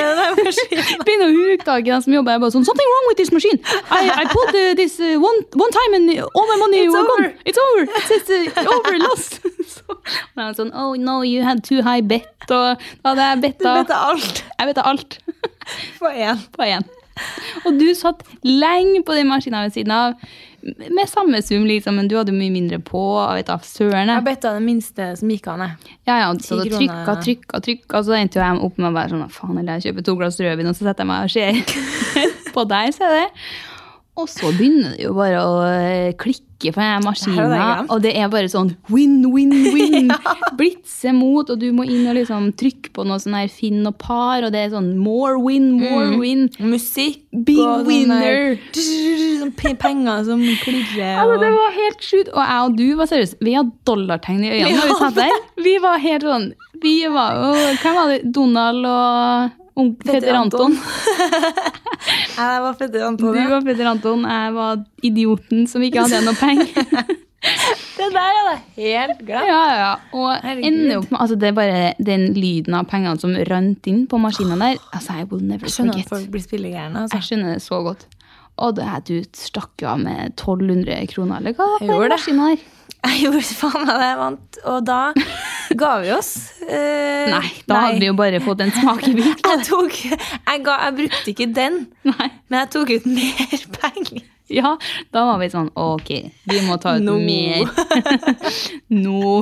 begynner å huke tak i den som jobber. Jeg bare sånn Something wrong with this machine! I, I pulled uh, this uh, one, one time and all my money
It's
were
over.
gone! It's over! It's uh, over! Lost! Så, og jeg var sånn Oh no, you had too high bet. Og da hadde jeg betta
Dette er alt
Jeg betta alt
på én.
på én. Og du satt lenge på den maskina ved siden av med samme sum, liksom, men du hadde mye mindre på. Jeg vet da, søren.
Jeg
jeg.
betta det minste som gikk an, jeg.
Ja, ja, så
Ti
da
kroner.
trykka, trykka, trykka, og så Altså, endte jo jeg opp med å være sånn Faen, eller jeg kjøper to glass rødvin, og så setter jeg meg og ser på deg, ser jeg det. Og så begynner det jo bare å eh, klikke på den
Det her hadde
maskina,
jeg glemt.
og det er bare sånn win, win, win. Blitse mot, og du må inn og liksom trykke på noe sånn her finn og par, og det er sånn more win,
Mm.
more win.
Musikk
Big
og sånn der-
winner.
Sånn pe- penger som klirrer
Altså,
og
det var helt sjukt. Og jeg og du var seriøst, vi hadde dollartegn i øynene når vi satt der. Vi var helt sånn vi var jo, Hvem var det? Donald og onkel Petter Anton.
Ja, Jeg var fetter
Du
Anton. ja.
var Petter Anton, jeg var idioten som ikke hadde noe penger.
Det der hadde jeg
Ja,
helt glemt.
ja, ja. Og
Herregud.
ender opp med altså det er bare den lyden av pengene som rant inn på maskinen der. Altså, I will never
Skjønner at
forget.
folk blir spillegærne. Altså.
Jeg skjønner det så godt. Og det her, du stakk jo av med 1200 kroner, eller hva? var
Jeg
på den
gjorde det.
maskinen her?
Jeg gjorde faen meg det jeg vant, og da ga vi oss. Eh,
Nei, da hadde vi jo bare fått en smakebit.
jeg, tok, jeg, ga, jeg brukte ikke den,
Nei.
men jeg tok ut mer penger.
Ja, da var vi sånn Ok, vi må ta ut
Nå.
mer. Nå.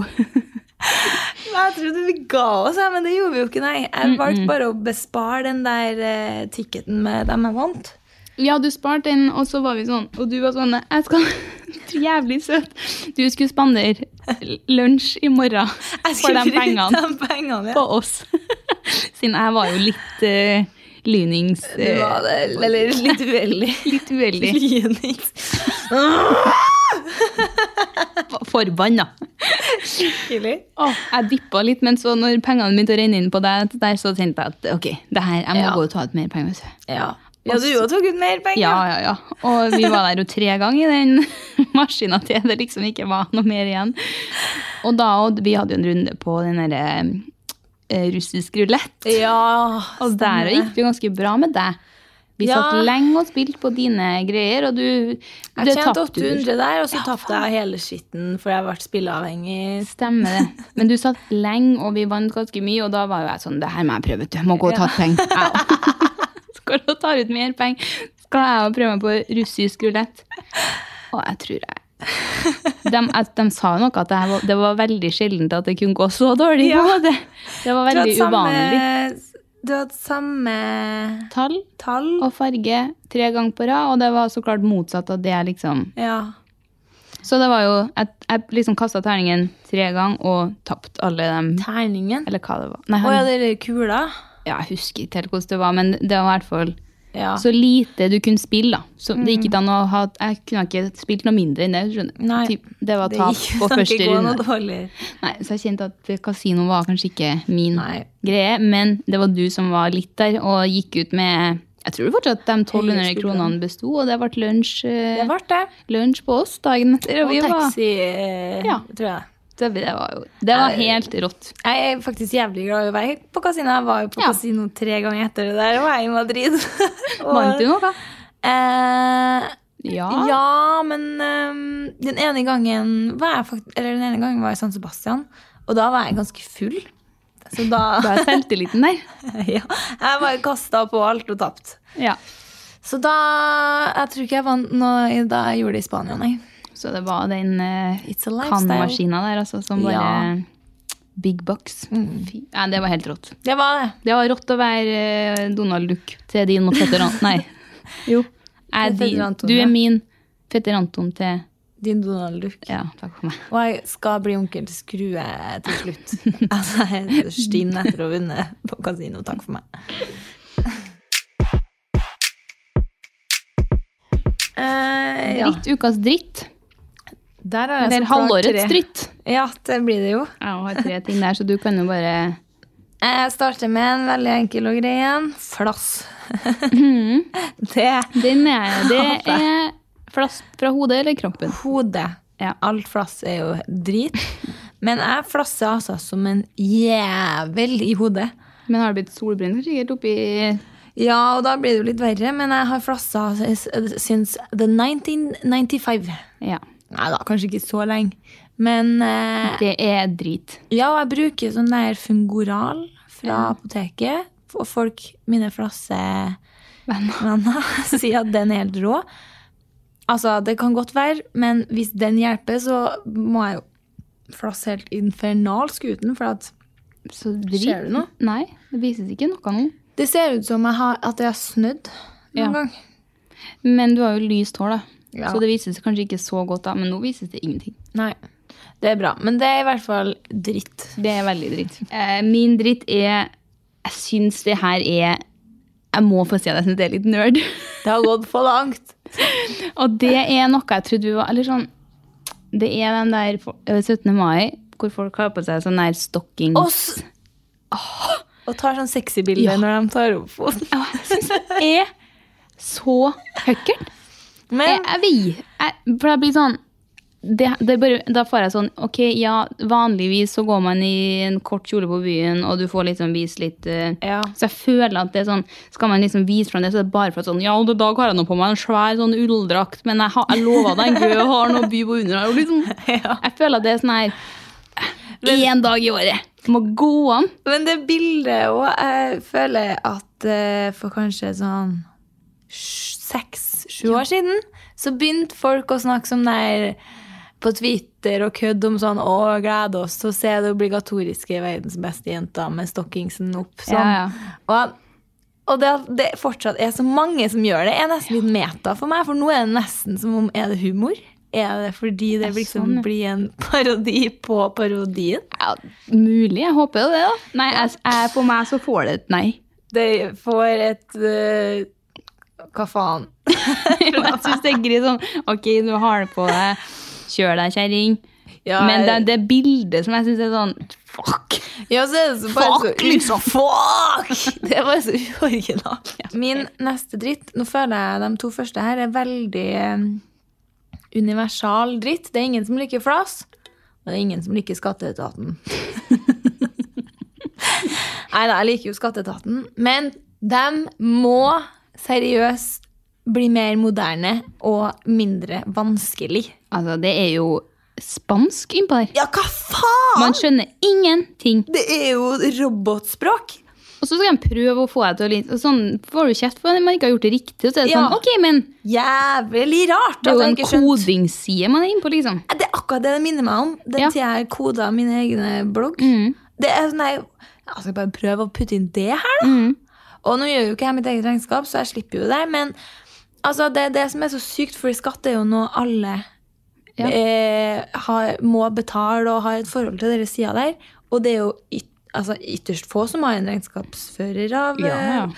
Jeg trodde vi ga oss, ja, men det gjorde vi jo ikke. Nei.
Mm,
Jeg valgte bare å bespare den der eh, ticketen med dem jeg vant.
Ja, du sparte den, og så var vi sånn Og du var sånn Jeg skal Du er Jævlig søt. Du skulle spandere lunsj i morgen
Jeg
for
skulle
de
bruke
pengene
de pengene.
på
Ja.
oss. Siden jeg var jo litt eh, lynings... eh,
Det var det, eller litt uheldig.
Litt uheldig.
Lynings.
Forbanna.
Skikkelig.
Åh, jeg dippa litt, men så når pengene begynte å renne inn på deg, der, så tenkte jeg at ok, det her, jeg må
Ja.
gå og ta ut mer penger. vet du.
Ja. ja, du jo tok ut mer penger.
Ja, ja, ja. Og vi var der jo tre ganger i den maskina til det liksom ikke var noe mer igjen. Og da og vi hadde jo en runde på den derre eh, russisk rulett.
Ja,
Og der gikk det jo ganske bra med deg. Vi
Ja.
satt lenge og spilte på dine greier, og du
Jeg
det
tjente
tapte du.
800 der, og så tapte jeg hele skitten fordi jeg ble spilleavhengig.
Stemmer det. Men du satt lenge, og vi vant ganske mye, og da var jo jeg sånn Det her må jeg prøve, vet du. Jeg må gå og ta ut penger. Au. Skal du ta ut mer penger, skal jeg jo prøve meg på russisk rulett. Og jeg tror jeg de, at de sa jo noe at det, her var, det var veldig sjeldent at det kunne gå så dårlig.
Ja.
på en måte. Det var veldig uvanlig.
Du hadde samme
Tall
tall.
og farge tre ganger på rad, og det var så klart motsatt av det jeg liksom
Ja.
Så det var jo at jeg liksom kasta terningen tre ganger og tapte alle dem.
Terningen.
Eller hva det var. Nei,
Å ja, det er kula.
ja, jeg husker ikke helt hvordan det var, men det var i hvert fall
Ja. Mm.
så lite du kunne spille. da. Så det gikk ikke an å ha, Jeg kunne ikke spilt noe mindre enn det. skjønner du.
Nei.
Typ, det var tap
gikk-
på
kan ikke
første
gå noe
runde.
dårligere.
Nei, så jeg kjente at kasino var kanskje ikke min
Nei.
greie, men det var du som var litt der og gikk ut med Jeg tror fortsatt at de 1200
Høyere
kronene besto, og det ble lunsj, eh,
Det ble det.
lunsj på oss dagen etter. Og
Og
vi var,
taxi, eh,
Ja.
tror jeg.
det, det var jo Det var helt rått.
Jeg er faktisk jævlig glad i å være på kasino. Jeg var jo på
Ja.
kasino tre ganger etter det der, og jeg er i Madrid. Og-
Vant du noe?
Eh,
Ja.
Ja, men ehm, den ene gangen var jeg fakt Eller den ene gangen var jeg i San Sebastian, og da var jeg ganske full. Så da
Da er selvtilliten der.
ja, Jeg var kasta på alt og tapt.
Ja.
Så da Jeg tror ikke jeg vant noe i- da jeg gjorde det i Spania, nei.
Så det var den eh,
It's a lifestyle.
kannmaskina der, altså, som bare
Ja. Mm.
Big bucks. Fy, nei, det var helt rått.
Det var det.
Det var rått å være eh, Donald Duck til din og fetter Anton. Nei. jo. Er
Til fetter
din,
Anton,
du
ja.
er min fetter Anton til
Din Donald Duck.
Ja, takk for meg.
Og jeg skal bli onkel til Skrue til slutt. altså, jeg heter stinn etter å ha vunnet på kasino. Takk for meg. Eh, ja.
Dritt ukas dritt.
Der har jeg
Eller
så klart
halvårets
tre.
dritt.
Ja, det blir det jo.
Jeg har tre ting der, så du kan jo bare
Jeg starter med en veldig enkel og grei en. Flass. det er
Den er Det er flass fra hodet eller kroppen.
hodet.
Ja.
Alt flass er jo drit. Men jeg flasser altså som en jævel i hodet.
Men har det blitt solbrent sikkert oppi
Ja, og da blir det jo litt verre, men jeg har flassa since the 1995.
Ja.
Nei da, kanskje ikke så lenge. Men eh,
Det er drit.
ja, jeg bruker sånn der Fungoral fra apoteket. Og folk, mine flassevenner, sier at den er helt rå. Altså, det kan godt være, men hvis den hjelper, så må jeg jo flasse helt infernalsk uten, for at
Så drit.
Ser du noe?
Nei, det vises ikke noe nå.
det ser ut som jeg har, at jeg har snødd noen
Ja.
gang.
Men du har jo lyst hår, da.
Ja.
Så det vises kanskje ikke så godt da. Men nå vises det ingenting.
Nei, det er bra. Men det er i hvert fall dritt.
Det er veldig dritt. Eh, min dritt er Jeg syns det her er Jeg må få si at jeg syns det er litt nerd.
Det har gått for langt.
Og det er noe jeg trodde vi var Eller sånn Det er den der fo- eh, 17. mai hvor folk har på seg sånn der stockings.
Og, s- og tar sånn sexy bilder
Ja.
når de tar opp foten.
er så høkkert. Jeg,
Men
jeg vet jeg, For jeg blir sånn det, det er bare, Da får jeg sånn Ok, ja, vanligvis så går man i en kort kjole på byen, og du får liksom vise litt eh,
Ja.
Så jeg føler at det er sånn Skal man liksom vise fram det, så er det bare for at sånn Ja, og i dag har jeg nå på meg en svær sånn ulldrakt, men jeg, har- jeg lova deg en gøy og har noe å by på under her. Og liksom, jeg føler at det er sånn her Én dag i året. Må gå an.
Men det bildet òg Jeg føler at eh, for kanskje sånn seks-sju år siden så begynte folk å snakke som der på Twitter og kødde om sånn Å, gled oss til å se det obligatoriske verdens beste jenta med stockingsen opp. Sånn.
Ja, ja.
Og, og det at det fortsatt er så mange som gjør det, er nesten litt meta for meg. For nå er det nesten som om Er det humor? Er det fordi det
sånn,
liksom blir en parodi på parodien?
Ja, mulig. Jeg håper jo det, da. Nei, jeg, jeg, for meg så får det et nei.
Det får et eh, Hva faen?
jeg syns det er greit sånn Ok, du har det på deg. Kjør deg, kjerring.
Ja,
Men det, det bildet som jeg syns er sånn Fuck!
ja, så er det så bare
Fuck,
så, liksom! Fuck! Det var så uoriginalt. Min neste dritt Nå føler jeg de to første her er veldig eh, universal dritt. Det er ingen som liker flass, og det er ingen som liker Skatteetaten. Nei da, jeg liker jo Skatteetaten, men de må seriøst bli mer moderne og mindre vanskelig.
Altså, det er jo spansk innpå der.
Ja, hva faen?!
Man skjønner ingenting.
Det er jo robotspråk.
Og så skal de prøve å få deg til å like og Sånn får du kjeft for at man ikke har gjort det riktig. Og så er det
Ja.
sånn Ok, men
Jævlig rart.
det er
at
jo
jeg
en
ikke skjønte.
kodingsside man er innpå, liksom.
Det er akkurat det det minner meg om. Den
Ja. Mm.
tida jeg koda min egen blogg. Det er sånn, jeg, jeg skal bare prøve å putte inn det her, da.
Mm.
Og nå gjør jo ikke jeg mitt eget regnskap, så jeg slipper jo det. Men altså, det er det som er så sykt, for skatt er jo noe alle
Ja.
eh, har, må betale og har et forhold til dere sida der. Og det er jo yt, altså, ytterst få som har en regnskapsfører av
Ja.
eh,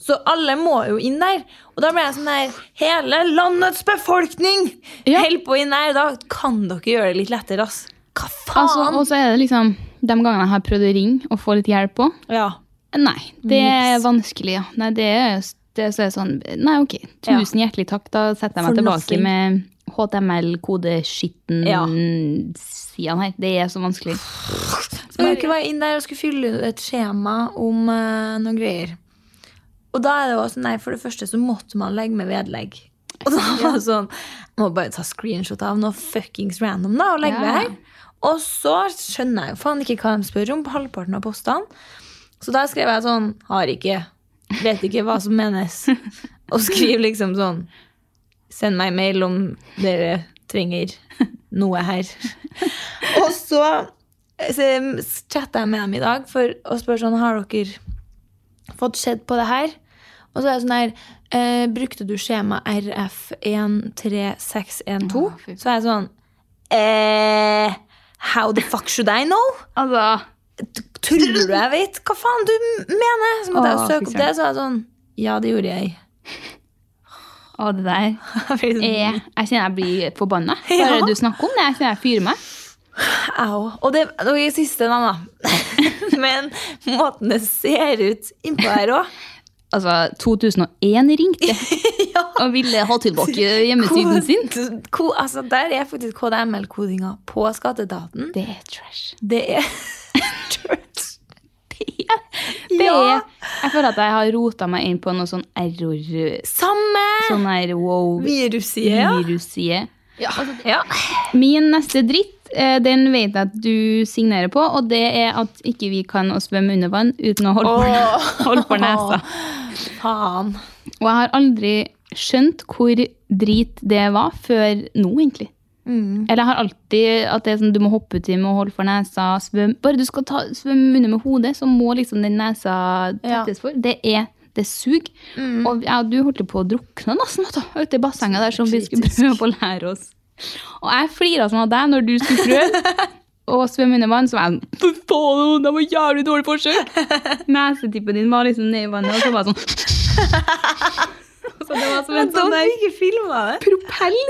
Så alle må jo inn der. Og da ble jeg sånn der Hele landets befolkning
Ja.
holder på inn der! Da kan dere gjøre det litt lettere, ass. Hva faen?
Altså, og så er det liksom de gangene jeg har prøvd å ringe og få litt hjelp på
ja.
Nei, det er vanskelig, ja. Nei, det er, det er så er det sånn Nei, ok. Tusen hjertelig takk. Da setter jeg meg
For
tilbake
nothing.
med
Ja.
HTML-kodeskitten-sidene her. Det er så vanskelig.
Så må dere være inn der og skulle fylle ut et skjema om eh, noen greier. Og da er det jo også, nei, for det første så måtte man legge med vedlegg. Og da var det sånn Jeg må bare ta screenshot av noe fuckings random da, og legge
Ja.
med her. Og så skjønner jeg jo faen ikke hva de spør om på halvparten av postene. Så da skrev jeg sånn Har ikke. Vet ikke hva som menes. Og skriv liksom sånn Send meg mail om dere trenger noe her. Og så chatta jeg med dem i dag for å spørre sånn Har dere fått sett på det her? Og så er det sånn her eh, Brukte du skjema RF13612? så er jeg sånn eh, How the fuck should I know?
Altså,
Tror du jeg vet hva faen du mener? Så måtte jeg
Åh,
jo søke
fy
opp det, så er jeg sånn Ja, det gjorde jeg.
å, det der
Jeg blir sånn-
er Jeg kjenner jeg blir forbanna bare du snakker om det. Jeg kjenner jeg fyrer meg.
Au. Og det og i siste navn, da. Men måten det ser ut innpå her òg
Altså, 2001 ringte
Ja.
og ville ha tilbake hjemmesiden sin.
Ko, altså, der er faktisk KDML-kodinga på skatteetaten.
Det er trash.
Det er Church.
Det
Ja.
er, jeg føler at jeg har rota meg inn på noe sånn error...
Samme
Sånn her
virusside. ja. Altså,
wow-virusside.
Ja.
Min neste dritt, eh, den vet jeg at du signerer på, og det er at ikke vi kan å svømme under vann uten å holde, for, holde for nesa.
Faen.
Og jeg har aldri skjønt hvor drit det var før nå, egentlig. Eller jeg har alltid at det er sånn, du må hoppe uti med å holde for nesa, svøm. Bare du skal ta, svømme under med hodet, så må liksom den nesa
Ja.
tettes for. Det er det sug. Og ja, du holdt jo på å drukne nesten vet du, ute i bassenget der som vi skulle prøve på å lære oss. Og jeg flira sånn av deg når du skulle prøve å svømme under vann. Så var jeg sånn Fy faen, det var jævlig dårlig forsøk! Nesetippen din var liksom ned i vannet, og så var det sånn Så det var som en sånn der
Altså, ikke filma det.
propell.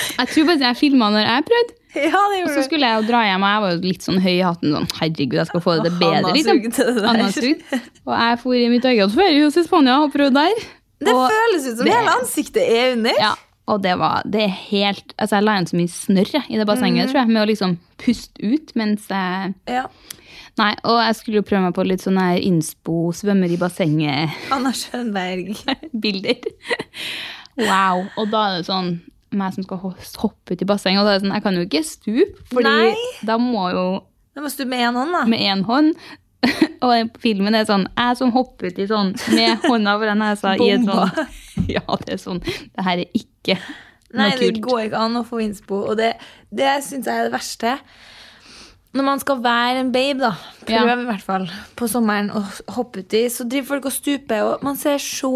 Jeg tror faktisk jeg filma når jeg prøvde.
Ja, det
Og så
gjorde du.
skulle jeg jo dra hjem, og jeg var jo litt sånn høy i hatten. sånn, Herregud, jeg skal få det til
Han
bedre.
har
liksom.
sugd til det der.
Han har sugd. Og jeg for i mitt eget ferjehus i Spania og prøvde der.
Det
og,
føles ut som
det-
hele ansiktet er under.
ja, og det var det er helt Altså, jeg la igjen så mye snørr jeg, i det bassenget,
Mm.
tror jeg, med å liksom puste ut mens jeg
Ja.
Nei, og jeg skulle jo prøve meg på litt sånn her innspo, svømmer i bassenget-bilder.
Anna Schönberg.
Wow. Og da er det sånn meg som skal ho- hoppe ut i bassenget, og da er det sånn Jeg kan jo ikke stupe, fordi
Nei.
da må jo
Da må du med noen, da.
med én hånd og filmen er sånn Jeg som hopper uti sånn med hånda foran nesa i et
Bomba.
sånn Ja, det er sånn Det her er ikke noe
Nei, det
kult.
går ikke an å få innspo, og det, det syns jeg er det verste. Når man skal være en babe, da, prøv
Ja.
i hvert fall, på sommeren å hoppe uti, så driver folk og stuper, og man ser så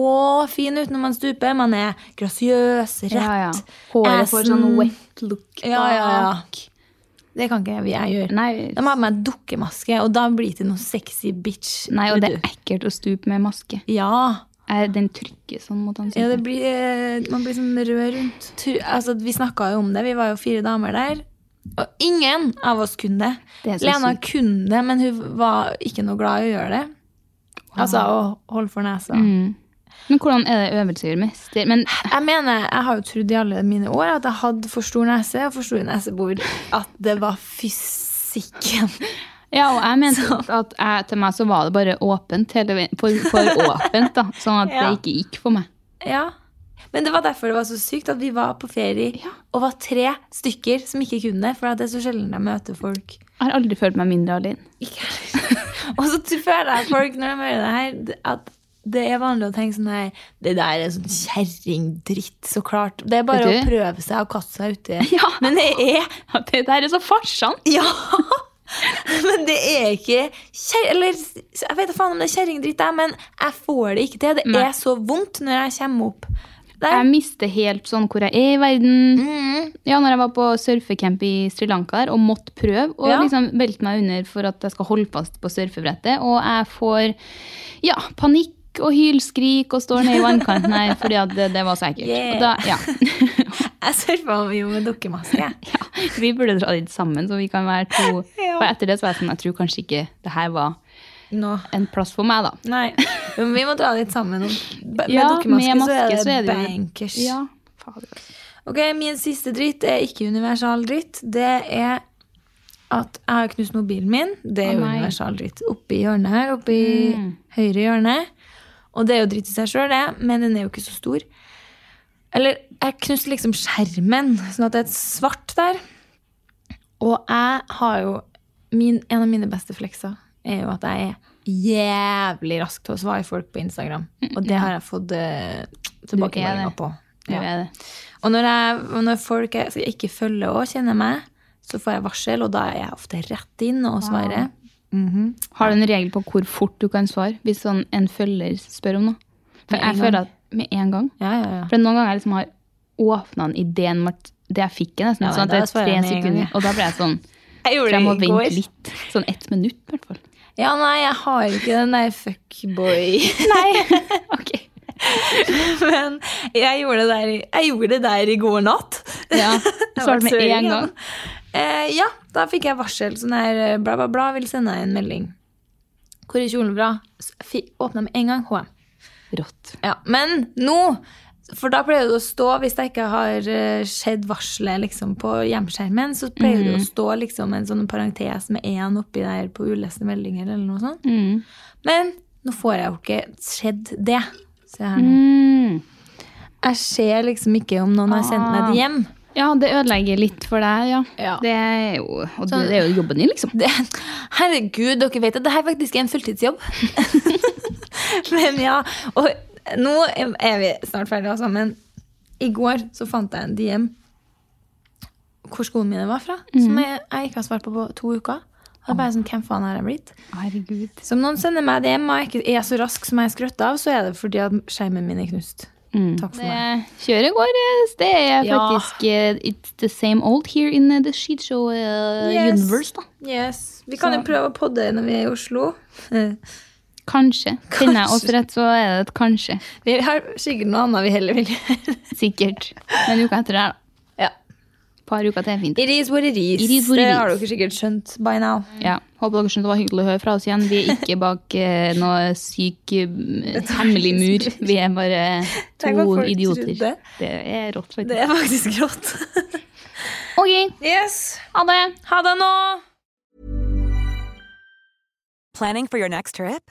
fin ut når man stuper. Man er grasiøs, rett.
Ja, ja. Håret får sånn
assen.
wet look bak.
Ja, ja, ja. Det kan ikke jeg gjøre.
Nei.
Da må jeg ha på meg dukkemaske, og da blir det til noe sexy bitch.
Nei, og
vet
det
du.
er ekkelt å stupe med maske.
Ja.
Eh, Den trykker sånn mot ansiktet.
Ja, det blir, eh, man blir sånn rød rundt. Tu- Altså, vi snakka jo om det, vi var jo fire damer der. Og ingen av oss kunne det.
Det er så
Lena
sykt.
kunne det, men hun var ikke noe glad i å gjøre det. Altså å holde for nesa.
Men hvordan er det øvelser gjør mest? Det- Men
Jeg mener, jeg har jo trodd i alle mine år at jeg hadde for stor nese og for store nesebor. At det var fysikken.
Ja, og jeg mente at jeg, til meg så var det bare åpent hele veien. For, for åpent, da. Sånn at det
Ja.
ikke gikk for meg.
Ja. Men det var derfor det var så sykt at vi var på ferie og var tre stykker som ikke kunne det. For at det er så sjelden jeg møter folk.
Jeg har aldri følt meg mindre alene.
Ikke heller. Og så t- føler jeg folk når de hører det her, d- at det er vanlig å tenke sånn her Det der er sånn kjerringdritt, så klart. Det er bare å
Vet du?
prøve seg og kaste seg uti.
Ja.
Men det er
At Det der er så farsant!
Ja! Men det er ikke kjer... Eller s- jeg vet da faen om det er kjerringdritt, jeg, men jeg får det ikke til. Det er så vondt når jeg kommer opp
Jeg
der.
mister helt sånn hvor jeg er i verden. Ja, når jeg var på surfecamp i Sri Lanka der, og måtte prøve å
Ja.
liksom velte meg under for at jeg skal holde fast på surfebrettet, og jeg får ja, panikk og hylskrik og står ned i vannkanten her fordi at det, det var så ekkelt.
Yeah.
Og da, ja.
Jeg surfa jo med dukkemaske.
ja. Vi burde dra dit sammen, så vi kan være to.
Ja.
For etter det så var jeg sånn, jeg tror kanskje ikke det her var
Nå.
en plass for meg, da.
Nei. Men vi må dra dit sammen. Med
Ja,
dukkemaske
med
så er
maske
det,
så er det jo-
bankers.
Ja, fader.
altså. Ok, Min siste dritt er ikke universal dritt. Det er at jeg har knust mobilen min. Det
Å,
er jo
nei. Mm.
universal dritt. Oppi hjørnet her. Oppi høyre hjørne. Og det er jo dritt i seg sjøl, det, men den er jo ikke så stor. Eller jeg knuste liksom skjermen, sånn at det er et svart der. Og jeg har jo min, En av mine beste flekser er jo at jeg er jævlig rask til å svare folk på Instagram. Og det har jeg fått eh, tilbakemeldinger
det.
på.
Det
Ja.
er det.
Og når, jeg, og når folk jeg, som ikke følger og kjenner meg, så får jeg varsel, og da er jeg ofte rett inn og svarer.
Har du en regel på hvor fort du kan svare hvis sånn en følger spør om noe? For
Med en
jeg føler at med en gang.
Ja, ja, ja.
For noen ganger jeg liksom har åpna en idé om at det jeg fikk, er nesten
Ja,
sånn at
da
det er
svarer
tre
jeg med en gang,
sekunder.
ja.
Og da ble jeg sånn
Jeg
For
gjorde
jeg må
det i
vente
går.
litt. Sånn ett minutt, i hvert fall.
Ja, nei, jeg har ikke den der fuckboy.
Nei. ok.
Men jeg gjorde, det der, i- jeg gjorde det der i går natt.
Ja.
Jeg
Svarte
var
med
søring,
en
ja.
gang.
Eh, ja, Da fikk jeg varsel sånn her eh, bla, bla, bla, vil sende deg en melding. Hvor er kjolen fra? S- fi- Åpna med en gang. HM.
Rått.
Ja, men nå For da pleier det å stå, hvis det ikke har eh, skjedd varselet liksom, på hjemskjermen, så pleier det å stå liksom, en sånn parentes med én oppi der på uleste meldinger eller noe sånt. Men nå får jeg jo ikke skjedd det. Se her nå.
Mm.
Jeg ser liksom ikke om noen har sendt meg det hjem.
Ja, det ødelegger litt for deg, ja.
Ja.
Det er jo, og det, det er jo jobben din, liksom.
Det, herregud, dere vet at det her faktisk er en fulltidsjobb. Men ja, og nå er vi snart ferdige altså, men i går så fant jeg en DM hvor skoene mine var fra, som jeg, jeg ikke har svart på på to uker. Og det er bare sånn, hvem faen har jeg blitt?
Herregud.
Så om noen sender meg DM og jeg ikke er så rask som jeg er skrøtt av, så er det fordi at skjermen min er knust. Takk for meg.
Kjøret går eh, Det er
Ja.
faktisk eh, It's the same old here in eh, the sheet show eh,
Yes.
universe, da.
Yes. Vi kan jo prøve å podde når vi er i Oslo.
Kanskje. Kjenner jeg oss
Kanskje.
rett, så er det et kanskje.
Vi har sikkert noe annet vi heller vil gjøre.
Sikkert. Men uka etter det, her, da.
Ja.
Par uker til er fint.
It is what it is.
It is what it
det
is.
har dere sikkert skjønt by now.
Ja. Håper dere skjønte det var hyggelig å høre fra oss igjen. Vi er ikke bak eh, noe syk eh, hemmelig mur. Vi er bare
Tenk hva
to
folk
idioter.
trodde.
Det er rått,
Det
faktisk.
er faktisk grått.
OK,
yes.
ha det!
Ha det nå!
Planning for your next trip?